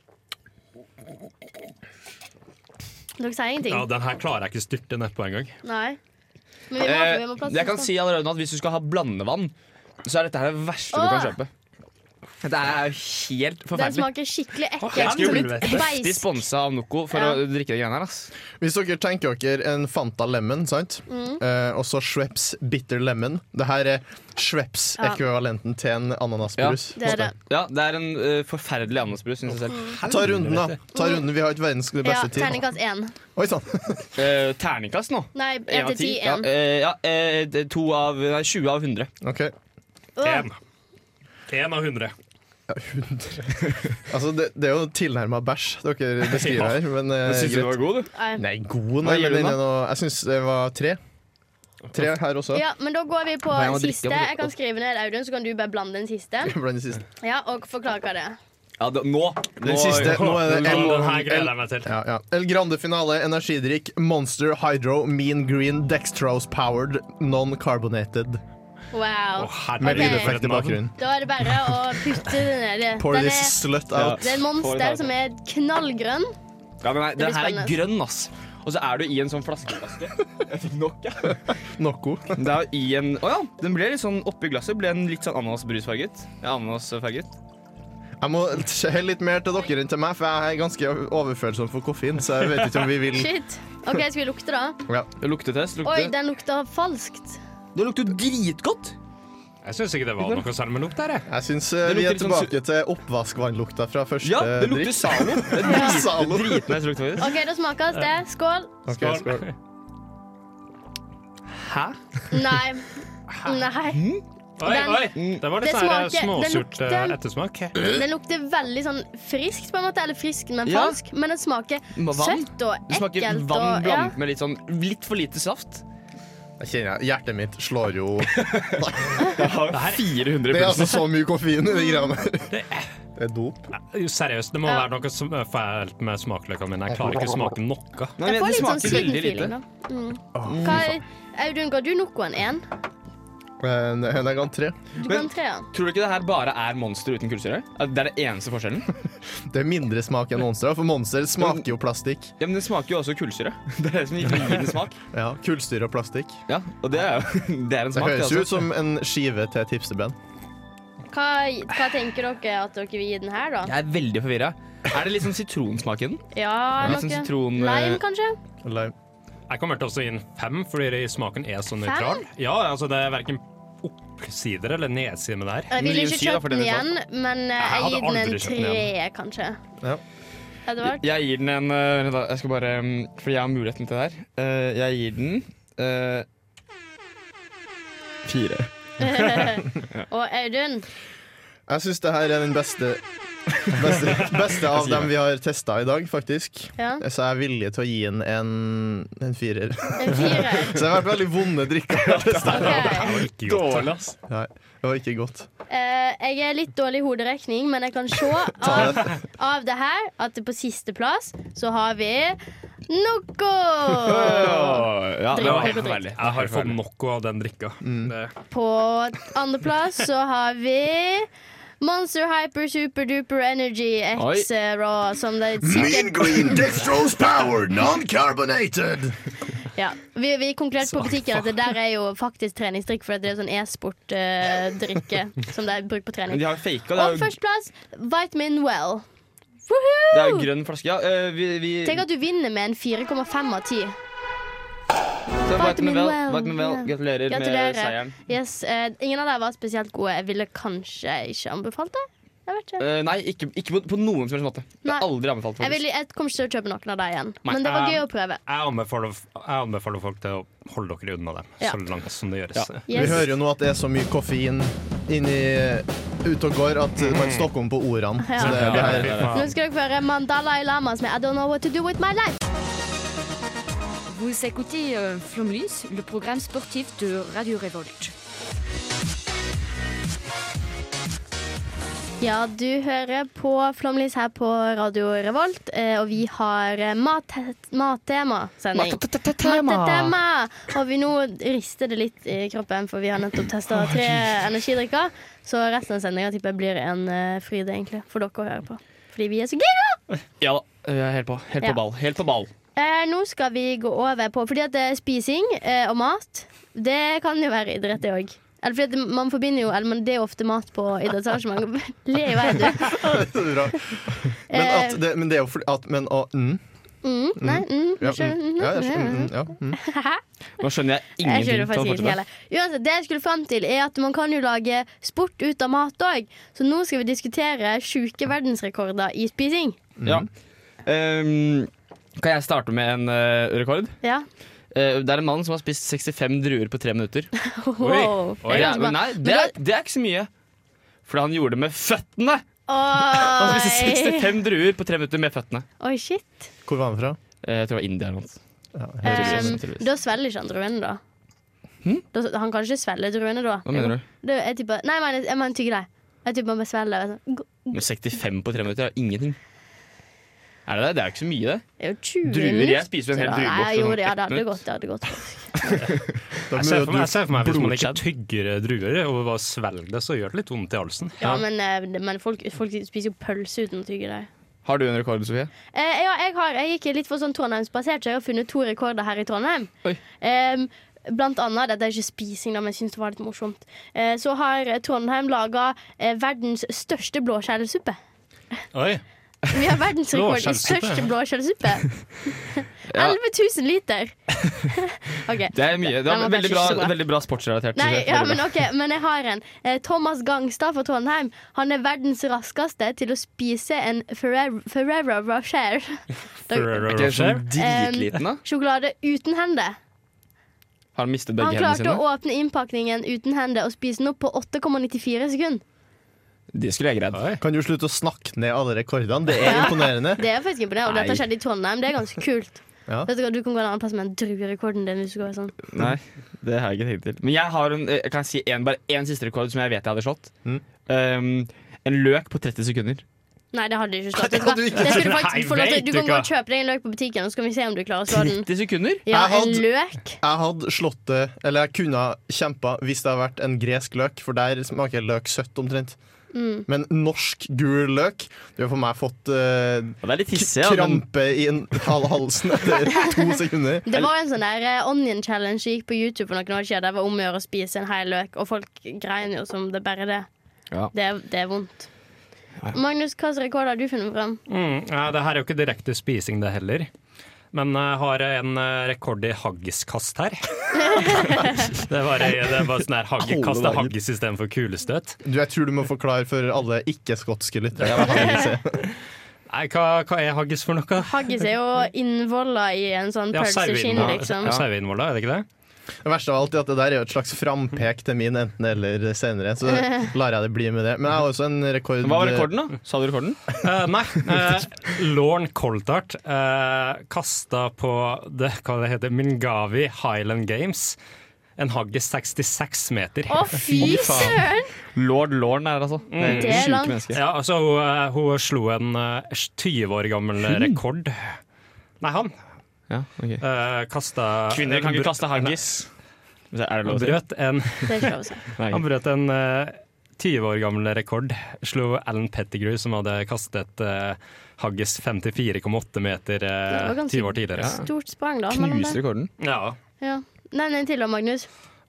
Speaker 3: Dere sier ingenting?
Speaker 4: Ja, Den her klarer jeg ikke styrte nedpå engang.
Speaker 3: Nei. Men vi må,
Speaker 6: Eh,
Speaker 3: vi må plass
Speaker 6: jeg kan si allerede nå at hvis du skal ha blandevann, så er dette her det verste du kan
Speaker 3: Åh!
Speaker 6: kjøpe. Dette er helt
Speaker 3: Den
Speaker 6: forferdelig.
Speaker 3: smaker skikkelig
Speaker 4: Jeg
Speaker 3: ekkelt.
Speaker 4: skulle
Speaker 3: Som
Speaker 4: blitt
Speaker 3: et
Speaker 6: De
Speaker 3: beis.
Speaker 6: sponsa av Noco for
Speaker 3: Ja.
Speaker 6: å drikke de greiene her. ass
Speaker 5: Hvis dere tenker dere en Fanta Lemon, sant?
Speaker 3: Mm.
Speaker 5: Eh, og så Schweppes Bitter Lemon. Det her er Schweppes-ekvivalenten til en ananasbrus.
Speaker 3: Det er det.
Speaker 6: Ja, Det er en eh, forferdelig ananasbrus, syns jeg selv.
Speaker 5: Ta runden, da. Ta runden, Vi har ikke verdens
Speaker 3: Mm. Ja,
Speaker 5: beste tid.
Speaker 3: terningkast én.
Speaker 5: Oi sånn. sann.
Speaker 6: Eh, terningkast nå.
Speaker 3: Nei,
Speaker 6: En
Speaker 3: én til ti.
Speaker 6: Ja,
Speaker 3: Én.
Speaker 6: eh, ja eh, det er to av Nei, 20 av 100.
Speaker 5: [LAUGHS] OK.
Speaker 3: Åh,
Speaker 4: Én. Én av hundre.
Speaker 5: Altså, det, det er jo tilnærma bæsj dere beskriver her, men eh, greit.
Speaker 6: var god, du?
Speaker 3: nei.
Speaker 5: Nei, god,
Speaker 6: Hva
Speaker 5: nei,
Speaker 6: gir
Speaker 5: men
Speaker 6: du den da?
Speaker 5: den er noe Jeg syns det var tre. Tre her [LAUGHS] også.
Speaker 3: Ja, men da går vi på
Speaker 6: Nei, jeg må drikke,
Speaker 3: siste.
Speaker 6: jeg må drikke.
Speaker 3: Jeg kan skrive ned Audun, så kan du bare blande den siste.
Speaker 5: Blant de siste.
Speaker 3: Ja, Og forklare hva det er.
Speaker 6: Ja, det, nå.
Speaker 5: Den siste,
Speaker 4: Eh,
Speaker 5: nå er det
Speaker 4: Den
Speaker 5: El,
Speaker 4: her gleder
Speaker 5: El,
Speaker 4: jeg meg til.
Speaker 5: ja, ja. El Grande finale, energidrikk, Monster, Hydro, Mean Green, Dextrose Powered, Non-Carbonated.
Speaker 4: Å,
Speaker 3: Wow.
Speaker 4: herregud,
Speaker 5: Med
Speaker 3: Ok.
Speaker 4: for et
Speaker 5: lydeffekt i
Speaker 4: navn.
Speaker 5: bakgrunnen.
Speaker 3: Da er det bare å putte den nedi.
Speaker 5: Pour
Speaker 3: Den
Speaker 5: this
Speaker 3: er,
Speaker 5: slut out.
Speaker 3: det er en monster som er knallgrønn.
Speaker 6: Ja, men nei,
Speaker 3: Det
Speaker 6: Den
Speaker 3: blir
Speaker 6: her er
Speaker 3: spennende.
Speaker 6: grønn, ass. Og så er du i en sånn [LAUGHS] flaskeflaske. Jeg fikk nok, jeg.
Speaker 5: Noco.
Speaker 6: Det er i en Å ja, den ble litt sånn oppi glasset. Ble en litt sånn ananasbrusfarget. Ja, ananasfarget.
Speaker 5: [LAUGHS] Jeg må helle litt mer til dere enn til meg, for jeg er ganske overfølsom for koffein. Så jeg vet ikke om vi
Speaker 6: Mm.
Speaker 5: vil
Speaker 3: Shit. OK, skal vi lukte,
Speaker 6: [LAUGHS]
Speaker 3: da?
Speaker 5: ja.
Speaker 6: Det luktetest. Lukte.
Speaker 3: Oi, den lukter falskt.
Speaker 6: det lukter dritgodt.
Speaker 4: Jeg syns ikke det var noe særlig med lukt her. jeg.
Speaker 5: Jeg syns eh,
Speaker 6: Det
Speaker 5: vi
Speaker 6: lukter
Speaker 5: er
Speaker 6: litt sånn
Speaker 5: tilbake til oppvaskvannlukta fra første
Speaker 6: Ja, det lukter
Speaker 5: drikk.
Speaker 6: Zalo. Det er drit-
Speaker 5: Zalo.
Speaker 6: dritnice lukt, faktisk.
Speaker 3: OK, da smakes det. Skål.
Speaker 5: Ok, skål.
Speaker 6: Hæ? Mm.
Speaker 3: Nei. Nei.
Speaker 4: Oi,
Speaker 3: Den-
Speaker 4: oi! Det var litt
Speaker 3: Det
Speaker 4: sånn her
Speaker 3: smaker- den
Speaker 4: småsurt eh,
Speaker 3: lukter-
Speaker 4: ettersmak.
Speaker 3: Den lukter veldig sånn friskt, på en måte. Eller frisk, men
Speaker 6: Ja.
Speaker 3: falsk. Men den smaker
Speaker 6: Vann.
Speaker 3: søtt og
Speaker 6: Det smaker
Speaker 3: ekkelt.
Speaker 6: vann
Speaker 3: og, ja.
Speaker 6: blandet med litt, sånn, litt for lite saft.
Speaker 5: Jeg kjenner jeg- Hjertet mitt slår jo
Speaker 6: Jeg har 400
Speaker 5: Det er altså så mye koffein i de greiene her.
Speaker 4: Det
Speaker 5: Det er dop.
Speaker 4: Jo, Seriøst, det må
Speaker 3: Ja.
Speaker 4: være noe som er feilt med smakløkene mine. Jeg klarer ikke å smake noe.
Speaker 3: Jeg
Speaker 6: Nei, men
Speaker 3: får
Speaker 6: det
Speaker 3: litt sånn
Speaker 6: smaker
Speaker 3: siden
Speaker 6: veldig
Speaker 3: feeling,
Speaker 6: lite.
Speaker 3: da. Mm. Hva er, Audun, ga du Nocoen én?
Speaker 5: Men jeg ga han tre.
Speaker 3: Du
Speaker 6: Men-
Speaker 3: ga en treer.
Speaker 6: Tror du ikke det her bare er monster uten kullsyre? At Det er det eneste forskjellen?
Speaker 5: Det er mindre smak enn Monster, for Monster smaker jo plastikk.
Speaker 6: Ja, men det smaker jo også kullsyre. [LAUGHS] Det er det som gir den smak.
Speaker 5: Ja, Kullsyre og plastikk.
Speaker 6: Ja, og det er jo [LAUGHS] det er en
Speaker 5: Det
Speaker 6: smak.
Speaker 5: høres
Speaker 6: altså.
Speaker 5: jo ut som en skive til et hipsterband.
Speaker 3: Hva, hva tenker dere at dere vil gi den her, da?
Speaker 6: Jeg er veldig forvirra. Er det litt sånn sitronsmak i den?
Speaker 3: Ja,
Speaker 6: Litt sånn
Speaker 3: noe
Speaker 6: sitron...
Speaker 3: Lime, kanskje?
Speaker 5: Eller-
Speaker 4: Jeg kommer til å gi den fem, fordi smaken er så nøytral. Ja, altså Det er verken oppsider eller nedsider med det her.
Speaker 3: Jeg ville
Speaker 6: Mye
Speaker 3: Eh, ikke
Speaker 6: syre,
Speaker 3: kjøpt
Speaker 6: for
Speaker 3: den
Speaker 6: den er
Speaker 3: igjen, men eh,
Speaker 4: Jeg
Speaker 3: jeg
Speaker 4: hadde
Speaker 3: gir den en
Speaker 4: aldri kjøpt
Speaker 3: tre,
Speaker 4: den
Speaker 3: kanskje.
Speaker 5: Ja.
Speaker 3: Edvard?
Speaker 6: Jeg gir den en øh, vent da, Jeg skal bare um, Fordi jeg har muligheten til det her. Eh, jeg gir den eh, Fire.
Speaker 3: Og Audun?
Speaker 5: Jeg syns det her er den beste [LAUGHS] Beste, beste av
Speaker 6: sier
Speaker 5: dem vi har testa i dag, faktisk. [LAUGHS]
Speaker 3: Ja,
Speaker 5: Så jeg er villig til å gi den en, en [LAUGHS] firer.
Speaker 3: en firer.
Speaker 5: Så det har vært veldig vonde drikker.
Speaker 3: Ok.
Speaker 4: Ikke godt.
Speaker 6: ass.
Speaker 5: [LAUGHS] Nei, det var ikke godt.
Speaker 3: Eh, jeg er litt dårlig i hoderekning, men jeg kan se
Speaker 4: [LAUGHS]
Speaker 3: av, av det her at på siste plass så har vi
Speaker 4: [LAUGHS]
Speaker 3: Noco!
Speaker 6: ja, det var helt forferdelig.
Speaker 4: Jeg har fått nok av den drikka. Det,
Speaker 3: På andreplass så har vi Monster Hyper Super Duper Energy X eh, Raw, som det
Speaker 5: Ah.
Speaker 3: sikkert
Speaker 5: green dextrose power, non-carbonated.
Speaker 3: Ja. Vi, vi konkluderte på butikken at det der er jo faktisk treningsdrikk, for det er sånn
Speaker 6: [LAUGHS]
Speaker 3: e-sport-drikke som det er brukt på
Speaker 6: Men
Speaker 3: trening.
Speaker 6: de har jo faka. Det er
Speaker 3: Og
Speaker 6: jo,
Speaker 3: førsteplass, Vitamin Well.
Speaker 6: det er jo grønn flaske. Ja, øh, vi, vi
Speaker 3: Tenk at du vinner med en 4,5 av 10.
Speaker 6: så
Speaker 3: Vitamin
Speaker 6: Vel,
Speaker 3: Well.
Speaker 6: Vitamin Well, Gratulerer,
Speaker 3: Gratulerer.
Speaker 6: med seieren.
Speaker 3: Yes, eh, ingen av dere var spesielt gode. Jeg ville kanskje ikke anbefalt det. Jeg vet ikke.
Speaker 6: Eh, nei, ikke, ikke på, på noen som helst måte. Det
Speaker 3: Nei.
Speaker 6: er aldri
Speaker 3: Jeg,
Speaker 6: anbefalt. faktisk.
Speaker 3: ville, jeg kommer ikke til å kjøpe noen av deg igjen.
Speaker 4: Nei,
Speaker 3: Men det var
Speaker 4: eh,
Speaker 3: gøy å prøve.
Speaker 4: jeg, anbefaler, jeg anbefaler folk til å holde dere unna dem
Speaker 3: Ja.
Speaker 4: så langt som det gjøres.
Speaker 3: Ja.
Speaker 5: Vi
Speaker 3: Yes.
Speaker 5: hører jo nå at det er så mye koffein inni ute og går at man stokker om på ordene. Så det, det [LAUGHS] her
Speaker 3: Nå skal dere få høre Mandalai Lamas med I Don't Know What To Do With My Life.
Speaker 9: Vous écoutez euh, Flomlys, le programme sportif de Radio Révolte.
Speaker 3: Ja, du hører på Flomlys her på Radio Revolt, eh, og vi har eh, mat- mattema-sending. Matetema! Og vi nå rister det litt i kroppen, for vi har nettopp testa tre energidrikker. Så resten av sendinga tipper jeg blir en eh, fryd, egentlig, for dere å høre på. Fordi vi er så gira!
Speaker 6: Ja da. Eh, Jeg er helt på, helt
Speaker 3: Ja.
Speaker 6: på ball. Helt på ball.
Speaker 3: Eh, nå skal vi gå over på Fordi at eh, spising eh, og mat, det kan jo være idrett, det òg. Eller fordi at man forbinder jo Eller men det er jo ofte mat på idrettsarrangement. Le i vei, du. Eh,
Speaker 5: er bra. Men, at det, men det er jo fordi at Men å mm,
Speaker 3: Mm, nei, mm,
Speaker 5: ja,
Speaker 3: skjønner,
Speaker 5: mm,
Speaker 3: mm,
Speaker 5: ja, jeg skjønner,
Speaker 3: mm,
Speaker 5: mm, ja, mm.
Speaker 6: Nå skjønner jeg
Speaker 3: Jeg
Speaker 6: ingenting.
Speaker 3: skjønner
Speaker 6: Ta
Speaker 3: faktisk
Speaker 6: fortsett.
Speaker 3: ikke heller. Uansett, det jeg skulle fram til, er at man kan jo lage sport ut av mat òg. Så nå skal vi diskutere sjuke verdensrekorder i spising.
Speaker 6: Ja. Ehm, kan jeg starte med en eh, rekord?
Speaker 3: Ja.
Speaker 6: Eh, det er en mann som har spist 65 druer på tre minutter.
Speaker 3: Wow.
Speaker 4: Oi,
Speaker 3: Det er
Speaker 6: Ja,
Speaker 3: ganske
Speaker 6: men
Speaker 3: bra.
Speaker 6: nei, det er, det er ikke så mye. For han gjorde det med føttene! Han spiste
Speaker 3: Oi.
Speaker 6: 65 druer på tre minutter med føttene.
Speaker 3: Oi, shit.
Speaker 5: Hvor var han fra?
Speaker 6: Eh, jeg tror det var India eller noe. sånt.
Speaker 3: Um,
Speaker 6: Tydeligvis, sånn tydeligvis. Hm?
Speaker 3: da svelger ikke han druene, da. da. Han kan ikke svelge druene, da.
Speaker 6: Hva mener du?
Speaker 3: Det, jeg tipper, nei, jeg mener- jeg mener tygge deg. Jeg tipper han bare sånn, svelger. vet du.
Speaker 6: Men 65 på tre minutter er jo ingenting. Er det det? Det er jo ikke så mye, det.
Speaker 3: Det er jo 20
Speaker 6: Druer, jeg
Speaker 3: minutter,
Speaker 6: spiser jo en hel
Speaker 3: da.
Speaker 6: drueboks
Speaker 3: Nei,
Speaker 6: på
Speaker 3: jo, det-
Speaker 6: sånn
Speaker 3: Ja, det
Speaker 6: ett
Speaker 3: hadde
Speaker 6: minutt.
Speaker 3: gått. Det hadde
Speaker 6: [LAUGHS]
Speaker 3: gått.
Speaker 5: Da
Speaker 4: Jeg
Speaker 5: må
Speaker 4: ser
Speaker 5: jo
Speaker 4: for meg,
Speaker 5: du-
Speaker 4: jeg ser for meg Hvis man ikke tygger druer og bare svelger det, så gjør det litt vondt i halsen.
Speaker 3: Ja, men, eh, det- men folk, folk spiser jo pølse uten å tygge deg.
Speaker 6: Har du en rekord, Sofie?
Speaker 3: Eh, ja, jeg, har, jeg gikk litt for sånn Trondheimsbasert, så jeg har funnet to rekorder her i Trondheim.
Speaker 6: Oi.
Speaker 3: Em, blant annet, dette er ikke spising, da, men jeg syns det var litt morsomt, eh, så har Trondheim laga eh, verdens største blåskjellsuppe.
Speaker 4: Oi,
Speaker 3: Vi har verdensrekord i
Speaker 4: Blåskjellsuppe,
Speaker 3: største
Speaker 4: ja.
Speaker 3: blåskjellsuppe.
Speaker 6: [LAUGHS]
Speaker 3: 11 000 liter. OK.
Speaker 6: Det er mye. Det
Speaker 3: Den
Speaker 6: er
Speaker 3: var kanskje
Speaker 6: veldig bra,
Speaker 3: ikke så bra.
Speaker 6: veldig bra sportsrelatert.
Speaker 3: Nei,
Speaker 6: Sofie.
Speaker 3: ja,
Speaker 6: Veldig
Speaker 3: men
Speaker 6: bra.
Speaker 3: ok, men jeg har en. Eh, Thomas Gangstad fra Trondheim. Han er verdens raskeste til å spise en Ferrer- Ferrero Rocher.
Speaker 4: Ferrero
Speaker 6: Er ikke det
Speaker 4: Rocher.
Speaker 6: sånn dritliten, da?
Speaker 3: Sjokolade uten hender.
Speaker 6: Har han mistet
Speaker 3: Han
Speaker 6: begge hendene
Speaker 3: klarte
Speaker 6: sine?
Speaker 3: å åpne innpakningen uten hender og spise den opp på 8,94 sekunder.
Speaker 6: Det skulle jeg greid.
Speaker 5: Eh, Kan du slutte å snakke ned alle rekordene? Det er imponerende.
Speaker 3: Det er faktisk imponerende. Og dette skjedde i Trondheim. Det er ganske kult.
Speaker 5: Ja.
Speaker 3: Vet du hva, Du kan gå en annen plass med en druerekorden din hvis du går sånn.
Speaker 6: Nei, det har jeg ikke tenkt til. Men jeg har en, jeg kan si en, bare én siste rekord som jeg vet jeg hadde slått.
Speaker 5: Mm.
Speaker 6: Um, en løk på 30 sekunder.
Speaker 3: Nei, det hadde du ikke
Speaker 5: Nei,
Speaker 3: slått.
Speaker 5: det
Speaker 3: Vet
Speaker 5: hadde
Speaker 3: du
Speaker 5: du
Speaker 3: hva?
Speaker 5: ikke.
Speaker 3: Det skal du faktisk få lov
Speaker 4: Nei,
Speaker 3: til.
Speaker 4: vet
Speaker 3: Du
Speaker 4: du
Speaker 3: kan gå
Speaker 4: hva.
Speaker 3: og kjøpe deg en løk på butikken, og så skal vi se om du klarer
Speaker 4: [LAUGHS]
Speaker 3: å slå den.
Speaker 6: 30 sekunder?
Speaker 3: Ja,
Speaker 5: Jeg
Speaker 3: en
Speaker 5: hadde-
Speaker 3: løk.
Speaker 5: Jeg hadde slått det, eller jeg kunne ha kjempa hvis det hadde vært en gresk løk, for der smaker løk søtt omtrent. Men norsk gul løk Det har for meg fått eh,
Speaker 6: Ja, Det er litt hissig. Ja, men
Speaker 5: krampe i en halv halsen etter to sekunder.
Speaker 3: Det var jo en sånn der eh, onion challenge som gikk på YouTube for noen år siden. Der var om å gjøre å spise en hel løk, og folk grein jo som det bare det.
Speaker 6: Ja.
Speaker 3: Det, er- det er vondt. Magnus, hva slags rekord har du funnet fram?
Speaker 4: Mm, ja, det her er jo ikke direkte spising, det heller. Men jeg har en eh, rekord i haggiskast
Speaker 3: [LAUGHS]
Speaker 4: her. det var, det var sånn her haggekast. Det er haggis istedenfor kulestøt.
Speaker 5: Du, jeg tror du må forklare for alle ikke-skotske lyttere. hva haggis er.
Speaker 4: Nei, hva, hva er haggis for noe?
Speaker 3: Haggis er jo
Speaker 4: [LAUGHS]
Speaker 3: innvolla i en sånn
Speaker 4: Ja,
Speaker 3: pølse skinn,
Speaker 4: saueinnvoll-
Speaker 3: liksom.
Speaker 4: ja, Saueinnvolla, er det ikke det?
Speaker 5: Det verste av alt er at det der er jo et slags frampek til min enten-eller senere,
Speaker 3: [LAUGHS]
Speaker 5: så lar jeg det bli med det. Men jeg har også en rekord
Speaker 6: Hva var rekorden, da? Sa du rekorden?
Speaker 4: Eh, nei. eh, Lorne Coldart uh, kasta på det, hva det heter, Mingavi Highland Games. En haggis 66 meter.
Speaker 3: Å, fy søren!
Speaker 6: Lord Lorne er altså.
Speaker 4: Mm.
Speaker 3: Det er
Speaker 6: sjuke
Speaker 3: langt.
Speaker 6: mennesker.
Speaker 4: Ja, altså hun, eh, hun slo en eh, 20 år gammel rekord. Nei, han
Speaker 6: Ja, ok.
Speaker 4: uh, kasta
Speaker 6: Kvinner kan ikke kaste haggis. Er det
Speaker 4: Han
Speaker 6: lov å si?
Speaker 4: brøt en,
Speaker 3: Det er ikke
Speaker 4: [LAUGHS]
Speaker 3: lov å si.
Speaker 6: Nei,
Speaker 4: han brøt en eh, 20 år gammel rekord. Slo Alan Pettigrew, som hadde kastet eh, haggis 54,8 meter eh,
Speaker 3: Det var ganske
Speaker 4: 20 år tidligere.
Speaker 3: Stort sprang, da. mellom
Speaker 6: Knuser
Speaker 3: det.
Speaker 6: rekorden.
Speaker 4: Ja.
Speaker 3: Ja. Nevn en til da, Magnus.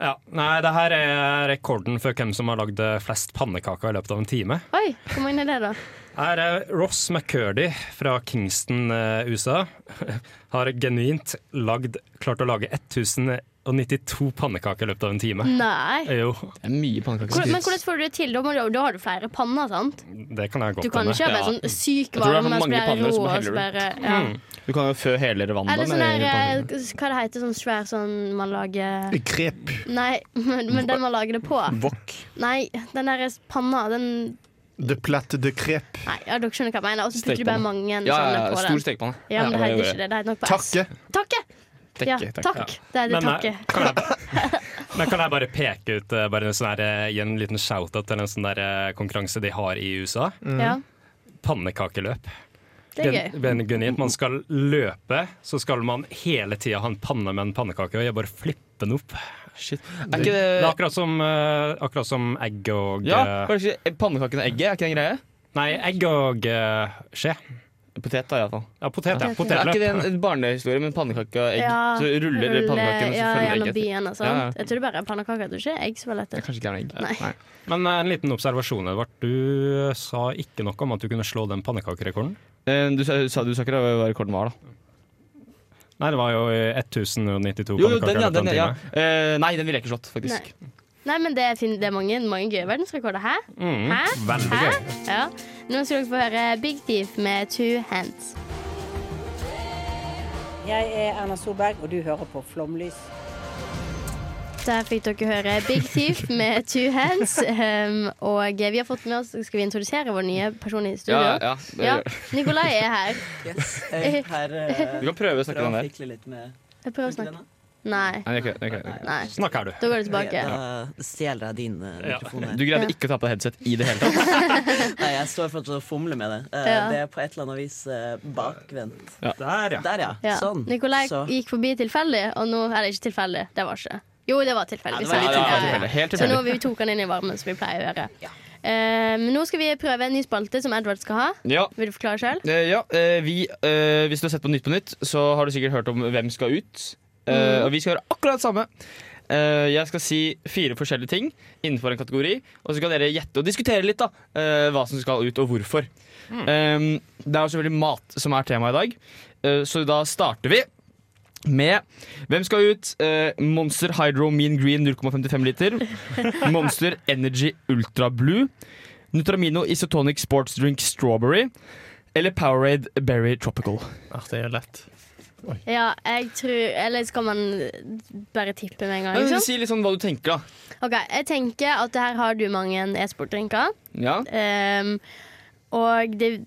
Speaker 4: ja. Nei, det her er rekorden for hvem som har lagd flest pannekaker i løpet av en time.
Speaker 3: Oi, hvor mange er det, da?
Speaker 4: Her er Ross McCurdy fra Kingston, eh, USA. [LAUGHS] Har genuint lagd, klart å lage 1092 pannekaker i løpet av en time.
Speaker 3: Mm. Nei.
Speaker 4: Jo,
Speaker 6: Det er mye
Speaker 3: Hvor,
Speaker 6: pannekaker.
Speaker 3: men hvordan får du det til? Da, må du, da har du flere panner, sant?
Speaker 4: det kan jeg godt
Speaker 3: Du kan
Speaker 4: hende.
Speaker 3: ikke ha bare
Speaker 6: Ja.
Speaker 3: sånn syk
Speaker 6: tror det er
Speaker 3: varme, men så
Speaker 6: mange
Speaker 3: blir det
Speaker 6: panner,
Speaker 3: rå,
Speaker 6: så bare
Speaker 3: og
Speaker 6: heller
Speaker 3: så
Speaker 6: du.
Speaker 3: bare ja.
Speaker 6: Du kan jo fø hele eller vann da,
Speaker 3: Eller
Speaker 6: med
Speaker 3: sånn der eh,
Speaker 6: pannekaker.
Speaker 3: Hva det heter sånn svær sånn man lager
Speaker 5: Krep.
Speaker 3: Nei, [LAUGHS] men, men den man lager det på.
Speaker 6: Wok.
Speaker 3: Nei, den der panna, den
Speaker 5: De plate de crêpe.
Speaker 3: Nei, ja, dere skjønner hva jeg mener. Og så putter du bare
Speaker 6: Stekepanne.
Speaker 3: mange
Speaker 6: Ja, ja,
Speaker 3: sånne
Speaker 6: ja,
Speaker 3: på
Speaker 6: stor
Speaker 3: den.
Speaker 6: stekepanne.
Speaker 3: Ja, men det heter
Speaker 6: gjorde
Speaker 3: ikke det. Det heter nok på S.
Speaker 5: Takke.
Speaker 3: Takke! Ja,
Speaker 6: Dekke, takk.
Speaker 3: takk. Det er det
Speaker 4: Men, eh,
Speaker 3: takke.
Speaker 4: kan jeg, [LAUGHS] men kan jeg bare peke ut eh, bare en sånn her, eh, Gi en liten shout-out til en sånn der eh, konkurranse de har i USA?
Speaker 3: Ja,
Speaker 4: Pannekakeløp.
Speaker 3: det er gøy.
Speaker 4: Gen- genuint, Man skal løpe, så skal man hele tida ha en panne med en pannekake og jeg bare flippe den opp.
Speaker 6: Shit. Er ikke
Speaker 4: Det er
Speaker 6: det
Speaker 4: akkurat som, eh, akkurat som egg og
Speaker 6: Ja,
Speaker 4: eh,
Speaker 6: kanskje pannekaken og egget er ikke det en greie?
Speaker 4: Nei, egg og eh, skje.
Speaker 6: Potet, da, iallfall.
Speaker 4: Ja, potet, ja.
Speaker 6: Er ikke
Speaker 4: Potetløp.
Speaker 6: det en en barnehistorie med pannekake og egg?
Speaker 3: Ja,
Speaker 6: så ruller
Speaker 3: rulle-
Speaker 6: pannekaken, og så
Speaker 3: ja,
Speaker 6: følger
Speaker 3: gjennom
Speaker 6: egget. etter.
Speaker 3: byen og
Speaker 6: Ja, ja.
Speaker 3: sånt. Jeg tror det bare er pannekaker, jeg tror ikke egg som er lett.
Speaker 6: Det er kanskje ikke er noe egg.
Speaker 3: Nei.
Speaker 4: Men eh, en liten observasjon, Edvard. Du eh, sa ikke noe om at du kunne slå den pannekakerekorden.
Speaker 6: Eh, Du sa, sa du sa ikke hva rekorden var, da?
Speaker 4: Nei, det var jo eh, 1092
Speaker 6: Jo, jo, den, ja.
Speaker 4: pannekaker. i løpet av
Speaker 6: Den,
Speaker 4: en
Speaker 6: ja.
Speaker 4: time.
Speaker 6: Eh, nei, den ville jeg ikke slått, faktisk.
Speaker 3: Nei, men det er, fin det er mange, mange gøye verdensrekorder. Hæ?
Speaker 4: Mm,
Speaker 3: Hæ?
Speaker 4: veldig
Speaker 3: Hæ?
Speaker 4: gøy.
Speaker 3: Ja. Nå skal dere få høre Big Thief med Two Hands.
Speaker 10: Jeg er Erna Solberg, og du hører på Flomlys.
Speaker 3: Der fikk dere høre Big Thief med Two Hands. Um, og vi har fått med oss Skal vi introdusere vår nye person i studio?
Speaker 6: Ja, ja, det-
Speaker 3: Ja, Nikolai er her.
Speaker 10: Jeg her eh,
Speaker 6: Du kan prøve å snakke den
Speaker 10: prøver å
Speaker 6: der.
Speaker 10: fikle litt med
Speaker 3: Jeg prøver å snakke. Nei.
Speaker 6: Nei, det er ikke det, det er ikke det.
Speaker 3: Nei.
Speaker 4: Snakk her, du.
Speaker 3: Da går det tilbake.
Speaker 10: Da stjeler jeg din eh, mikrofon her.
Speaker 6: Du greide ikke å ta på deg headset i det hele tatt.
Speaker 10: Nei, jeg står fortsatt og fomler med det. Eh,
Speaker 3: Ja.
Speaker 10: Det er på et eller annet vis eh, bakvendt.
Speaker 4: Der, ja.
Speaker 10: Der, ja.
Speaker 3: Ja.
Speaker 10: Sånn.
Speaker 3: Nikolai
Speaker 10: Så.
Speaker 3: gikk forbi tilfeldig, og nå er det ikke tilfeldig. Det var ikke. Jo, det var tilfeldig.
Speaker 10: Ja,
Speaker 3: Vi
Speaker 10: det
Speaker 3: sa
Speaker 10: var
Speaker 3: litt
Speaker 10: litt
Speaker 3: tilfeldig.
Speaker 6: tilfeldig. Helt
Speaker 3: Så nå
Speaker 6: tilfeldig.
Speaker 3: vi tok han inn i varmen, som vi pleier å gjøre. Eh, men nå skal vi prøve en ny spalte som Edward skal ha.
Speaker 6: Ja,
Speaker 3: Vil du forklare sjøl?
Speaker 6: Eh, ja, eh, vi, eh, hvis du har sett på Nytt på Nytt, så har du sikkert hørt om hvem skal ut. Eh, Og vi skal gjøre akkurat det samme. Eh, jeg skal si fire forskjellige ting innenfor en kategori. Og så kan dere gjette og diskutere litt da eh, hva som skal ut, og hvorfor. Eh, det er jo selvfølgelig mat som er temaet i dag, Eh, så da starter vi. Med Hvem skal ut? Eh, Monster Hydro Mean Green 0,55 liter. Monster Energy Ultra Blue. Nutramino Isotonic Sports Drink Strawberry. Eller Powerade Berry Tropical.
Speaker 5: Ah, det er lett.
Speaker 3: Ja, jeg tror Eller skal man bare tippe med en gang?
Speaker 6: Men,
Speaker 3: Liksom?
Speaker 6: si litt sånn hva du tenker, da.
Speaker 3: Ok, Jeg tenker at her har du mange e-sportdrinker.
Speaker 6: Ja.
Speaker 3: Ehm, og det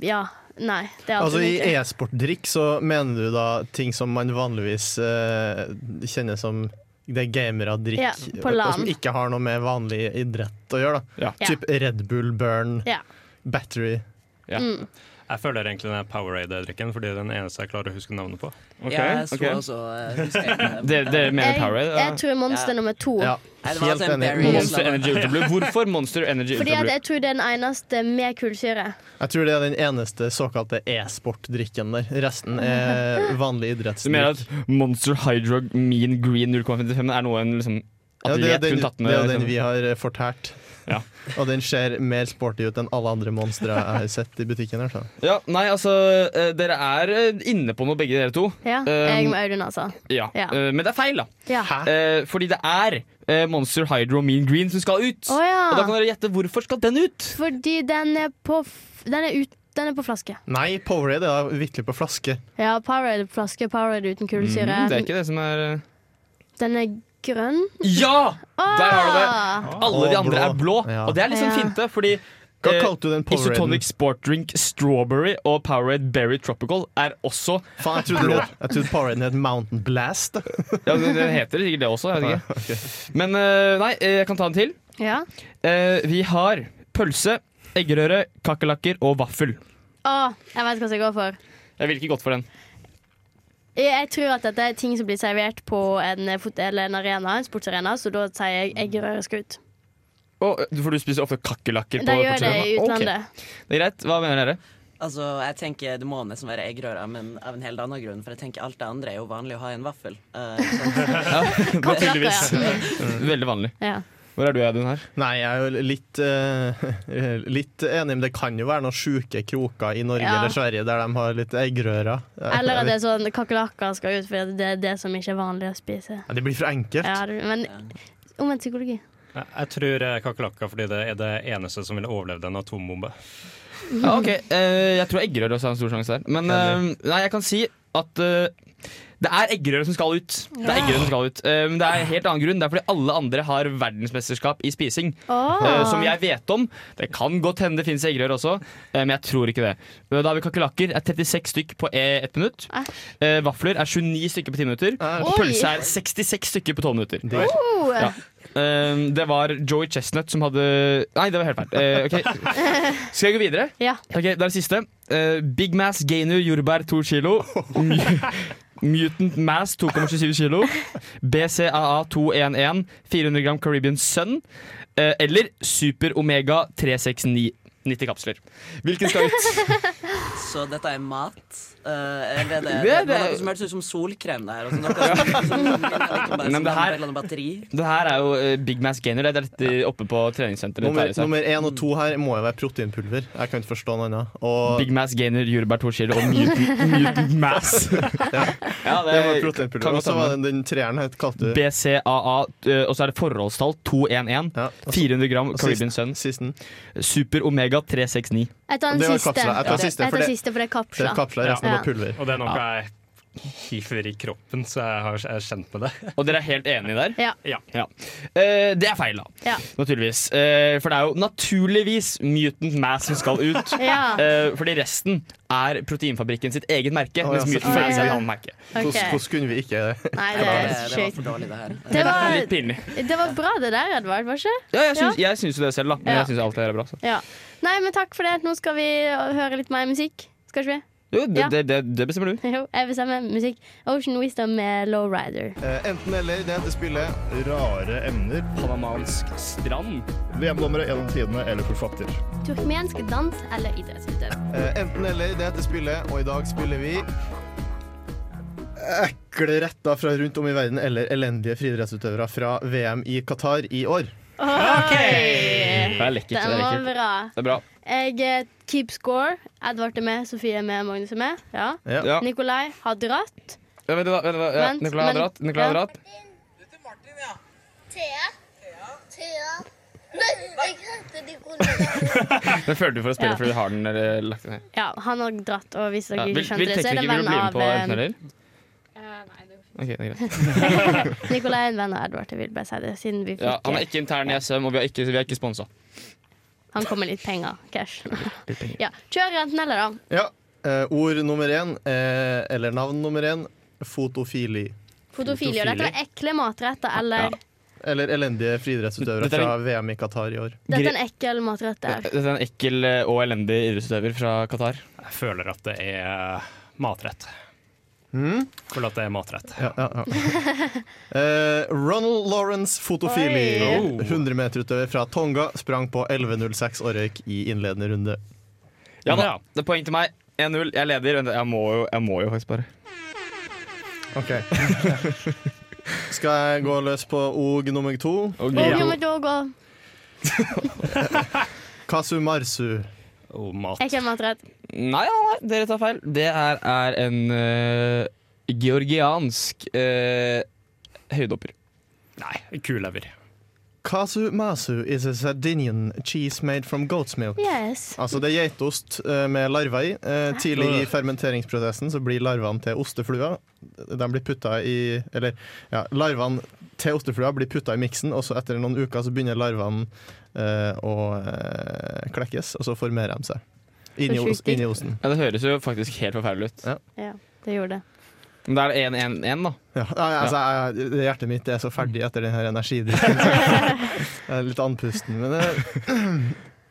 Speaker 3: Ja. Nei. Det er alt
Speaker 5: Altså
Speaker 3: jeg
Speaker 5: I
Speaker 3: tenker.
Speaker 5: e-sportdrikk så mener du da ting som man vanligvis eh, kjenner som det er gamere drikk,
Speaker 3: Ja, på
Speaker 5: og, og som
Speaker 3: LAN.
Speaker 5: ikke har noe med vanlig idrett å gjøre. da
Speaker 3: Ja.
Speaker 5: Typ Red Bull, Burn,
Speaker 3: Ja.
Speaker 5: Battery.
Speaker 3: Mm.
Speaker 4: Jeg føler egentlig den er Powerade-drikken, fordi det er den eneste jeg klarer å huske navnet på.
Speaker 10: Ok, Ja, jeg så ok. også, eh, husker jeg ikke.
Speaker 6: Dere dere mener
Speaker 3: Jeg-
Speaker 6: Powerade?
Speaker 3: jeg tror Monster nummer to. Ja,
Speaker 10: Nei, det var
Speaker 6: Helt
Speaker 10: altså en
Speaker 6: enig.
Speaker 10: berry.
Speaker 6: Monster Energy Ultra Blue. Hvorfor Monster Energy
Speaker 3: Fordi
Speaker 6: Ultra
Speaker 3: at
Speaker 6: Blue?
Speaker 3: jeg tror det er den eneste med kullsyre.
Speaker 5: Jeg tror det er den eneste såkalte e-sportdrikken der. Resten
Speaker 3: [LAUGHS]
Speaker 5: er vanlig
Speaker 6: Du mener
Speaker 5: idrettsdrikk.
Speaker 6: at Monster Hydro Mean Green 0,55 er noe en liksom,
Speaker 5: Ja,
Speaker 6: atlet
Speaker 5: det er den,
Speaker 6: kunne tatt med?
Speaker 5: det er den
Speaker 6: liksom.
Speaker 5: vi har eh, fortært.
Speaker 6: Ja.
Speaker 5: [LAUGHS] Og den ser mer sporty ut enn alle andre monstre jeg har sett i butikken. her så.
Speaker 6: Ja, nei, altså, eh, dere er eh, inne på noe, begge dere to.
Speaker 3: Ja,
Speaker 6: Eh,
Speaker 3: jeg med Audun, altså.
Speaker 6: ja.
Speaker 3: Ja.
Speaker 6: Eh, men det er feil, da.
Speaker 3: Ja.
Speaker 5: Ah.
Speaker 6: Eh, fordi det er eh, Monster Hydro Mean Green som skal ut.
Speaker 3: Å, ja.
Speaker 6: Og da kan dere gjette hvorfor skal den ut?
Speaker 3: Fordi den er på f den er, ut, den er på flaske.
Speaker 5: Nei, Powerade er da vitterlig på flaske.
Speaker 3: Ja, Powerade på flaske, Powerade uten kullsyre.
Speaker 6: Mm, det er ikke det som er eh,
Speaker 3: Den er grønn.
Speaker 6: Ja! Der har du det.
Speaker 3: Ah.
Speaker 6: Alle de
Speaker 5: Og
Speaker 6: andre
Speaker 5: blå.
Speaker 6: er blå,
Speaker 5: Ja.
Speaker 6: og det er
Speaker 3: Ja.
Speaker 6: liksom finte, fordi
Speaker 5: Hva
Speaker 6: eh,
Speaker 5: kalte du den Poweraden?
Speaker 6: Isotonic Sport Drink Strawberry og Powerade Berry Tropical er også
Speaker 5: Faen, jeg trodde, det- jeg trodde Poweraden het Mountain Blast.
Speaker 6: Ja, Den den heter sikkert det også, jeg vet
Speaker 5: [LAUGHS]
Speaker 6: ikke. Men eh, nei, eh, jeg kan ta en til.
Speaker 3: Ja.
Speaker 6: Eh, Vi har pølse, eggerøre, kakerlakker og vaffel.
Speaker 3: Å, Ah, jeg vet hva jeg går for.
Speaker 6: Jeg ville ikke gått for den.
Speaker 3: Jeg, jeg tror at dette er ting som blir servert på en, eh, fot eller en arena, en sportsarena, så da sier jeg eggerøre skal ut.
Speaker 6: Å, eh, for du spiser ofte kakerlakker?
Speaker 3: De
Speaker 6: på
Speaker 3: gjør det i
Speaker 6: pølse? Ok.
Speaker 3: utlandet.
Speaker 6: Det er greit. Hva mener dere?
Speaker 10: Altså, jeg tenker Det må nesten være eggerøre, men av en helt annen grunn. For jeg tenker alt det andre er jo vanlig å ha i en vaffel.
Speaker 6: Ja,
Speaker 10: Eh,
Speaker 6: [LAUGHS]
Speaker 10: så-
Speaker 6: tydeligvis. Veldig vanlig.
Speaker 3: Ja.
Speaker 6: Hvor er du, Audun, her?
Speaker 5: Nei, jeg er jo litt, eh, [LAUGHS] litt enig, men det kan jo være noen sjuke kroker i Norge
Speaker 3: Ja.
Speaker 5: eller Sverige der de har litt eggerører.
Speaker 3: Eller at det er sånn kakerlakker skal ut, for det er det som ikke er vanlig å spise.
Speaker 5: Ja, det blir for enkelt.
Speaker 3: Ja, det- men omvendt psykologi.
Speaker 4: Jeg, jeg tror eh, kakerlakka fordi det er det eneste som ville overlevd en atombombe.
Speaker 6: Ja, ok. Eh, jeg tror eggerøre også har en stor sjanse der. Men eh, nei, jeg kan si at eh, det er eggerøre som skal ut. Det er eggerøre som skal ut Eh, Men det er en helt annen grunn. Det er fordi alle andre har verdensmesterskap i spising.
Speaker 3: Åh.
Speaker 6: eh, som jeg vet om. Det kan godt hende det finnes eggerøre også, eh, men jeg tror ikke det. Eh, Da har vi kakerlakker. er 36 stykk på eh, ett minutt. Eh, vafler er 29 stykker på 10 minutter. Og
Speaker 3: Oi.
Speaker 6: pølse er 66 stykker på 12 minutter.
Speaker 3: Oh.
Speaker 6: Ja. Eh, det var Joey Chestnut som hadde Nei, det var helt feil. Eh, ok. Skal jeg gå videre?
Speaker 3: Ja.
Speaker 6: Ok, Det er det siste. Eh, Big Mass Gainu jordbær 2 kilo. Mu- Mutant Mass 2,27 kilo. BCAA 211. 400 gram Caribbean Sun. eh, eller Super Omega 369. 90 kapsler. Hvilken skal ut?
Speaker 10: Så dette er mat? Eh, eller er det,
Speaker 6: Det
Speaker 10: det,
Speaker 6: er
Speaker 10: det er
Speaker 6: det.
Speaker 10: noe som høres ut som solkrem, det her. Altså, noe som, som, som,
Speaker 6: Nei, men det
Speaker 10: det
Speaker 6: her-
Speaker 10: her batteri.
Speaker 6: Det her er jo eh, Big Mass Gainer. Det er dette oppe på treningssenteret.
Speaker 5: Nummer,
Speaker 6: Det tar i seg.
Speaker 5: nummer én og to her må jo være proteinpulver. Jeg kan ikke forstå noe annet. Og
Speaker 6: Big Mass Gainer, jordbær 2 kilo og Mutant, mutant
Speaker 5: [LAUGHS]
Speaker 6: Mass. Ja,
Speaker 5: det var
Speaker 6: kan
Speaker 5: proteinpulver.
Speaker 6: godt
Speaker 5: Og så
Speaker 6: hende.
Speaker 5: var det den treeren her, kalte du
Speaker 6: BCAA, eh, og så er det forholdstall 211.
Speaker 3: Altså,
Speaker 6: 400 gram Caribbean Sun.
Speaker 5: Sisten.
Speaker 6: Super Omega 369.
Speaker 3: Jeg tar
Speaker 5: Og
Speaker 3: den
Speaker 5: det var
Speaker 3: siste.
Speaker 5: kapsla. Jeg tar siste,
Speaker 3: Jeg
Speaker 5: for
Speaker 3: tar
Speaker 5: det-
Speaker 3: siste, for det er kapsla.
Speaker 5: Det er kapsla, resten
Speaker 3: Ja.
Speaker 5: var pulver.
Speaker 4: Og det er noe jeg hiver i kroppen, så jeg, har, jeg er kjent med det.
Speaker 6: Og dere er helt enige der?
Speaker 3: Ja.
Speaker 4: Ja.
Speaker 6: Ja. Eh, det er feil, da.
Speaker 3: Ja.
Speaker 6: Naturligvis. Eh, for det er jo naturligvis Mutant Mass som skal ut.
Speaker 3: [LAUGHS] Ja.
Speaker 6: Eh, fordi resten er Proteinfabrikken sitt eget merke,
Speaker 5: Å, ja,
Speaker 6: mens Mutant Mass er
Speaker 3: selvfølgelig.
Speaker 6: et annet merke.
Speaker 3: Ok.
Speaker 5: Hvordan, hvordan kunne vi ikke eh, det?
Speaker 3: Nei,
Speaker 10: Nei,
Speaker 3: det er
Speaker 10: det, det var
Speaker 3: sjukt.
Speaker 10: for dårlig, det her.
Speaker 3: Det
Speaker 6: Litt
Speaker 3: var,
Speaker 6: pinlig.
Speaker 3: det var bra det der, Edvard, var ikke
Speaker 6: Ja, jeg syns, Jeg syns jo det selv, da. Men
Speaker 3: Ja.
Speaker 6: jeg syns alt det her er bra. Så.
Speaker 3: Ja. Nei, men takk for det. Nå skal vi høre litt mer musikk. Skal ikke vi? [LAUGHS]
Speaker 6: Jo, det,
Speaker 3: Ja.
Speaker 6: det, det, det bestemmer du.
Speaker 3: Jo, jeg bestemmer musikk. Ocean Wisdom med Lowrider.
Speaker 5: Eh, Enten eller, det heter spillet.
Speaker 11: Rare emner.
Speaker 6: Panamansk strand.
Speaker 11: VM-dommere gjennom tidene eller forfatter.
Speaker 3: Turkmensk dans eller idrettsutøv?
Speaker 5: Eh, Enten eller, det heter spillet, og i dag spiller vi eh, Ekle retter fra rundt om i verden eller elendige friidrettsutøvere fra VM i Qatar i år.
Speaker 3: Oi!
Speaker 6: Det er lekkert. Det
Speaker 3: Den
Speaker 6: er,
Speaker 3: var
Speaker 6: lekkert.
Speaker 3: bra.
Speaker 6: Det er bra.
Speaker 3: Jeg eh, keep score. Edvard er med, Sofie er med, Magnus er med. Ja.
Speaker 5: Ja.
Speaker 6: Ja.
Speaker 3: Nikolai har dratt.
Speaker 6: Ja, vent, da, vent, da. Ja,
Speaker 3: Vent,
Speaker 6: Nicolai har
Speaker 3: men-
Speaker 6: dratt. Nicolai har
Speaker 3: ja.
Speaker 6: dratt.
Speaker 12: Thea. Thea. Nei, jeg heter Nicolai.
Speaker 6: [LAUGHS] Den følte du for å spille
Speaker 3: Ja.
Speaker 6: fordi du har den eller lagt den ned.
Speaker 3: Ja, han har dratt, og hvis
Speaker 6: Ja.
Speaker 3: dere ikke
Speaker 6: Vil, vil
Speaker 3: skjønte det, så er det
Speaker 6: tekniker
Speaker 3: en
Speaker 6: vil
Speaker 3: venn
Speaker 6: du bli med
Speaker 3: av
Speaker 6: på
Speaker 3: eh,
Speaker 6: enten eller?
Speaker 13: nei, det går
Speaker 6: Ok, det er greit.
Speaker 3: eh, Nikolai er en venn av Edvard, jeg vil bare si det, siden vi fikk eh,
Speaker 6: Ja, han er ikke intern i SM, og vi er ikke, vi er ikke sponsa.
Speaker 3: Han kom med litt penger. Cash. Ja. Kjør enten eller, da.
Speaker 5: Ja. eh, ord nummer én, eh, eller navn nummer én, fotofili.
Speaker 3: Fotofili. Og dette var ekle matretter, eller
Speaker 5: Eller elendige friidrettsutøvere
Speaker 6: Dette er en-
Speaker 5: fra VM i Qatar i år.
Speaker 3: Dette er en ekkel matrett der.
Speaker 6: Dette er en ekkel eh, og elendig idrettsutøver fra Qatar.
Speaker 4: Jeg føler at det er eh, matrett.
Speaker 5: Mm.
Speaker 4: Jeg Føler at det er matrett.
Speaker 5: Ja, ja, ja. Eh, Ronald Lawrence fotofili.
Speaker 4: Oi. Oh.
Speaker 5: 100-meterutøver fra Tonga sprang på 11,06 og røyk i innledende runde.
Speaker 6: Ja da, det er poeng til meg. 1-0. Jeg leder. Vent, Jeg må jo, jeg må jo faktisk bare.
Speaker 5: OK. Skal jeg gå løs på OG nummer to?
Speaker 3: Og vi må da gå.
Speaker 5: Kasumarsu.
Speaker 4: Oh, mat.
Speaker 3: Ekkel matrett.
Speaker 6: Nei, ja, nei, dere tar feil. Det er, er en eh, georgiansk eh, høydehopper.
Speaker 4: Nei, kulever.
Speaker 5: Kasumasu is a Sardinian cheese made from goat's milk.
Speaker 3: Yes.
Speaker 5: Altså Det er geitost eh, med larver i. Eh, Tidlig i fermenteringsprosessen så blir larvene til osteflua. De blir putta i Eller, ja, larvene til osteflua blir putta i miksen, og så etter noen uker så begynner larvene eh, å eh, klekkes, og så formerer de seg. Inni, os inni osten.
Speaker 6: Ja, det høres jo faktisk helt forferdelig ut.
Speaker 3: Ja, det gjorde det.
Speaker 6: Men det er 1-1-1, da.
Speaker 5: Ja, nei, altså, jeg, det- hjertet mitt er så ferdig etter den her energidrikken. så Jeg er litt andpusten, men det [CLEARS THROAT]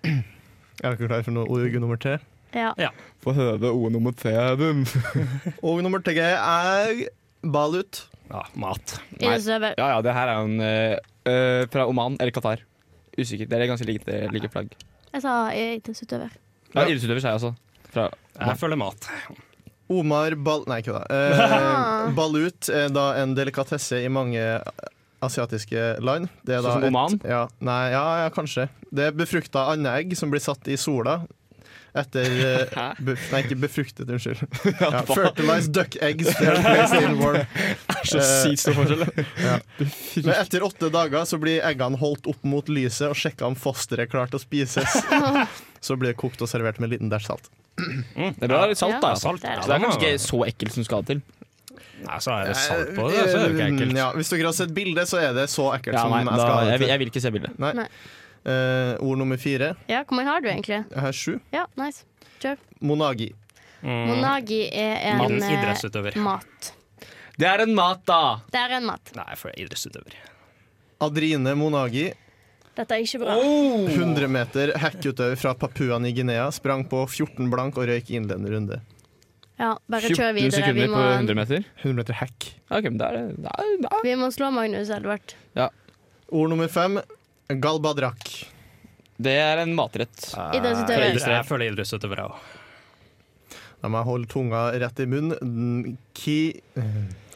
Speaker 5: Er dere klare for noe org nummer tre?
Speaker 3: Ja.
Speaker 6: Få høre ord nummer tre.
Speaker 5: Org nummer tre er balut.
Speaker 4: Ja, mat.
Speaker 6: Nei.
Speaker 3: Idrettsutøver.
Speaker 6: Ja, ja, det her er jo en eh, eh, fra Oman eller Qatar. Usikker. Det er ganske like, like flagg.
Speaker 3: Jeg sa idrettsutøver.
Speaker 6: Ja, Idrettsutøver, sier jeg altså. Fra
Speaker 4: Jeg føler mat.
Speaker 5: Omar Bal... Nei, ikke det. Eh, balut er da en delikatesse i mange asiatiske land. Det er da
Speaker 6: Sånn som
Speaker 5: et-
Speaker 6: Oman?
Speaker 5: Ja, nei, ja, ja, kanskje. Det er befrukta andegg som blir satt i sola.
Speaker 6: [LAUGHS]
Speaker 5: Etter eh, be, Nei, ikke befruktet, unnskyld. Ja,
Speaker 6: faen.
Speaker 5: fertilized duck eggs.
Speaker 6: [LAUGHS]
Speaker 5: Det er placed in warm.
Speaker 6: er så sykt stor forskjell, [LAUGHS] det.
Speaker 5: Eh, ja. Men etter åtte dager så blir eggene holdt opp mot lyset og sjekka om fosteret er klart å spises. Så blir det kokt og servert med en liten dæsj salt.
Speaker 6: Det er bra det er litt salt, da.
Speaker 5: Ja, salt.
Speaker 6: Så det er kanskje ikke så ekkelt som skal til.
Speaker 4: Nei, så er det salt på
Speaker 5: Eh,
Speaker 4: det, så er det jo ikke ekkelt.
Speaker 5: Ja, hvis dere har sett bildet, så er det så ekkelt
Speaker 6: Ja,
Speaker 5: som
Speaker 6: nei,
Speaker 5: jeg
Speaker 6: da,
Speaker 5: skal ha det
Speaker 6: jeg,
Speaker 5: til.
Speaker 6: vil- jeg vil ikke se bildet.
Speaker 5: Nei.
Speaker 3: Nei.
Speaker 5: Eh, ord nummer fire.
Speaker 3: Ja, hvor mange har du egentlig?
Speaker 5: Jeg har sju.
Speaker 3: Ja, nice. Kjør.
Speaker 5: Monagi.
Speaker 6: Mm.
Speaker 3: Monagi er en
Speaker 4: Mat.
Speaker 3: eh,
Speaker 4: Idrettsutøver.
Speaker 3: Mat.
Speaker 6: Det er en mat, da!
Speaker 3: Det er en mat.
Speaker 4: Nei, for idrettsutøver.
Speaker 5: Adrine Monagi,
Speaker 3: Dette er ikke bra.
Speaker 5: 100 meter hackutøver fra Papua Ny-Guinea, sprang på 14 blank og røyk i innledende runde.
Speaker 3: Ja, bare kjør
Speaker 6: 14
Speaker 3: videre. Vi
Speaker 6: sekunder
Speaker 3: må,
Speaker 6: på 100 meter.
Speaker 5: 100 meter hack.
Speaker 6: Ja, Ok, men da er det da er, da.
Speaker 3: vi må slå Magnus Edvard.
Speaker 6: Ja.
Speaker 5: Ord nummer fem. Galbadrak.
Speaker 6: Det er en matrett.
Speaker 3: Idrettsutøver.
Speaker 6: Fra
Speaker 4: Jeg
Speaker 6: Israel.
Speaker 4: føler idrettsutøver òg.
Speaker 5: Da må jeg holde tunga rett i munnen. Ki,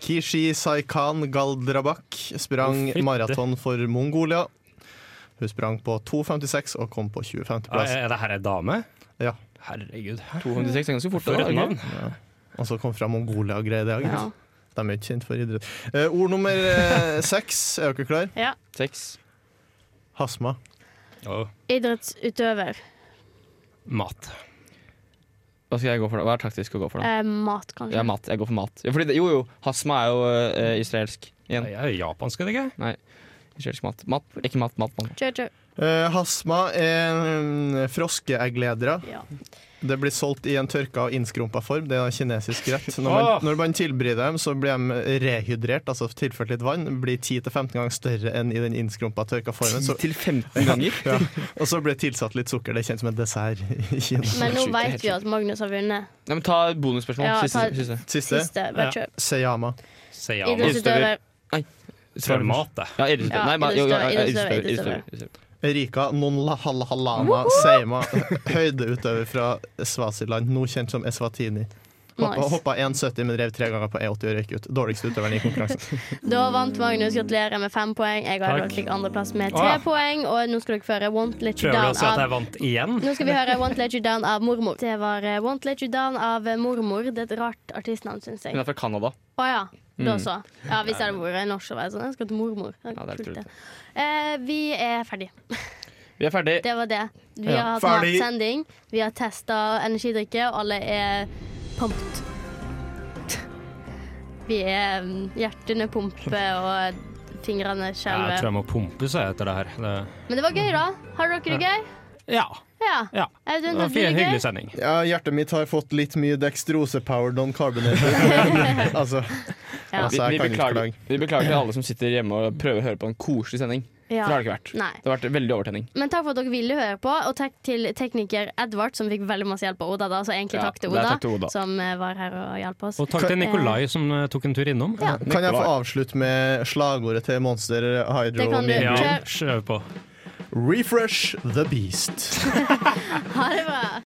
Speaker 5: Kishi Saikan Galdrabak sprang
Speaker 4: Å, fytte.
Speaker 5: maraton for Mongolia. Hun sprang på 2,56 og kom på 20.-plass.
Speaker 4: Er det her ei dame?
Speaker 5: Ja.
Speaker 4: Herregud.
Speaker 6: 256 er ganske fort.
Speaker 4: For
Speaker 6: da, ikke?
Speaker 4: et navn.
Speaker 5: Og så kom fra Mongolia og greier det. ikke
Speaker 3: Ja.
Speaker 5: sant? De er jo ikke kjent for idrett. Eh, ord nummer eh, [LAUGHS] seks, er dere klare?
Speaker 3: Ja.
Speaker 6: Seks.
Speaker 5: Hasma.
Speaker 3: Idrettsutøver.
Speaker 4: Mat.
Speaker 6: Hva skal jeg gå for da? Hva er taktisk å gå for da?
Speaker 3: Eh, mat, kanskje.
Speaker 6: Ja, mat. Jeg går for mat. Ja, fordi det, jo, jo. Hasma er jo eh, israelsk. Igjen.
Speaker 4: Jeg er japansk, er det ikke?
Speaker 6: Nei. Israelsk mat. Mat. Ikke mat, mat, mat.
Speaker 3: Kjør, kjør.
Speaker 5: Eh, hasma er mm, froskeeggledere.
Speaker 3: Ja.
Speaker 5: Det blir solgt i en tørka og innskrumpa form. Det er en kinesisk rett. Når
Speaker 4: Åh!
Speaker 5: man, når man tilbereder dem, så blir de rehydrert, altså tilført litt vann. Blir 10-15 ganger større enn i den innskrumpa, tørka formen. Så,
Speaker 6: 10-15
Speaker 4: [LAUGHS]
Speaker 6: ganger?
Speaker 5: ja. Og så blir det tilsatt litt sukker. Det er kjent som en dessert i Kina.
Speaker 3: Men nå
Speaker 6: Skyter helt
Speaker 3: vet vi at Magnus har vunnet.
Speaker 6: Nei, men ta bonusspørsmål.
Speaker 3: Ja,
Speaker 6: siste,
Speaker 3: ta-
Speaker 6: siste.
Speaker 5: Siste.
Speaker 3: Siste, bare kjør.
Speaker 5: Seyama.
Speaker 4: Seiyan.
Speaker 3: Idrettsutøver.
Speaker 6: Nei.
Speaker 4: Svar mat, det.
Speaker 6: Ja, idrettsutøver.
Speaker 3: Ja,
Speaker 6: Nei, ma- jo, jo,
Speaker 3: idrettsutøver,
Speaker 6: ja,
Speaker 3: idrettsutøver,
Speaker 6: idrettsutøver,
Speaker 3: idrettsutøver.
Speaker 6: idrettsutøver.
Speaker 5: Erika Nonlahalhalana [LAUGHS] Seima, høydeutøver fra Svasiland, nå kjent som Eswatini. Hoppa,
Speaker 3: Nice.
Speaker 5: hoppa 1,70, men drev tre ganger på E80 og røyk ut. Dårligste utøveren i konkurransen.
Speaker 3: Da vant Magnus. Gratulerer med fem poeng. Jeg og
Speaker 5: Takk.
Speaker 3: Edvard fikk andreplass med tre
Speaker 4: Ah.
Speaker 3: poeng. Og nå skal dere føre Won't Let You
Speaker 4: Prøver du å
Speaker 3: Down
Speaker 4: si at jeg
Speaker 3: av
Speaker 4: vant igjen?
Speaker 3: Nå skal vi høre Won't Let You Down av mormor. Det var eh, Won't Let You Down av eh, mormor. Det er et rart artistnavn, syns jeg.
Speaker 6: Hun er fra Canada.
Speaker 3: Å ja. Da
Speaker 6: Mm.
Speaker 3: så. Ja, Hvis jeg hadde vært norsk og vært sånn, jeg skal til mormor. Jeg
Speaker 6: Ja, det er
Speaker 3: kult,
Speaker 6: litt
Speaker 3: det. Eh, vi er ferdige.
Speaker 6: Vi er ferdig.
Speaker 3: Det var det. Vi
Speaker 6: Ja.
Speaker 3: har hatt
Speaker 6: Ferdig.
Speaker 3: matsending, vi har testa energidrikke, og alle er pumped. Vi er mm, hjertene pumper og fingrene
Speaker 4: Jeg tror
Speaker 3: skjelver.
Speaker 4: jeg må pumpe seg etter det her. Det,
Speaker 3: Men det var gøy, da. Har dere det gøy?
Speaker 4: Ja.
Speaker 3: Ja. Audun, hadde du det gøy?
Speaker 4: sending.
Speaker 5: Ja, hjertet mitt har fått litt mye dextrose-powered
Speaker 3: [LAUGHS]
Speaker 5: non-carbonated. altså,
Speaker 6: Ja.
Speaker 5: altså,
Speaker 6: Vi,
Speaker 5: jeg
Speaker 6: vi,
Speaker 5: kan ikke
Speaker 6: beklager,
Speaker 5: klage.
Speaker 6: vi beklager til alle som sitter hjemme og prøver å høre på en koselig sending.
Speaker 3: Ja.
Speaker 6: For det har det ikke vært.
Speaker 3: Nei.
Speaker 6: Det har vært veldig overtenning.
Speaker 3: Men takk for at dere ville høre på, og takk til tekniker Edvard, som fikk veldig masse hjelp av Oda. da Så egentlig
Speaker 4: Ja,
Speaker 3: takk til
Speaker 4: det er
Speaker 3: Oda,
Speaker 4: takk til Oda.
Speaker 3: som eh, var her og hjalp oss.
Speaker 4: Og takk til Nikolai som eh, tok en tur innom.
Speaker 3: Ja.
Speaker 5: Kan jeg få avslutte med slagordet til Monster Hydro?
Speaker 3: Det kan du.
Speaker 5: Meal
Speaker 3: Kjør.
Speaker 5: Green?
Speaker 4: Kjør på.
Speaker 5: Refresh the beast.
Speaker 3: Eh, Ha det bra.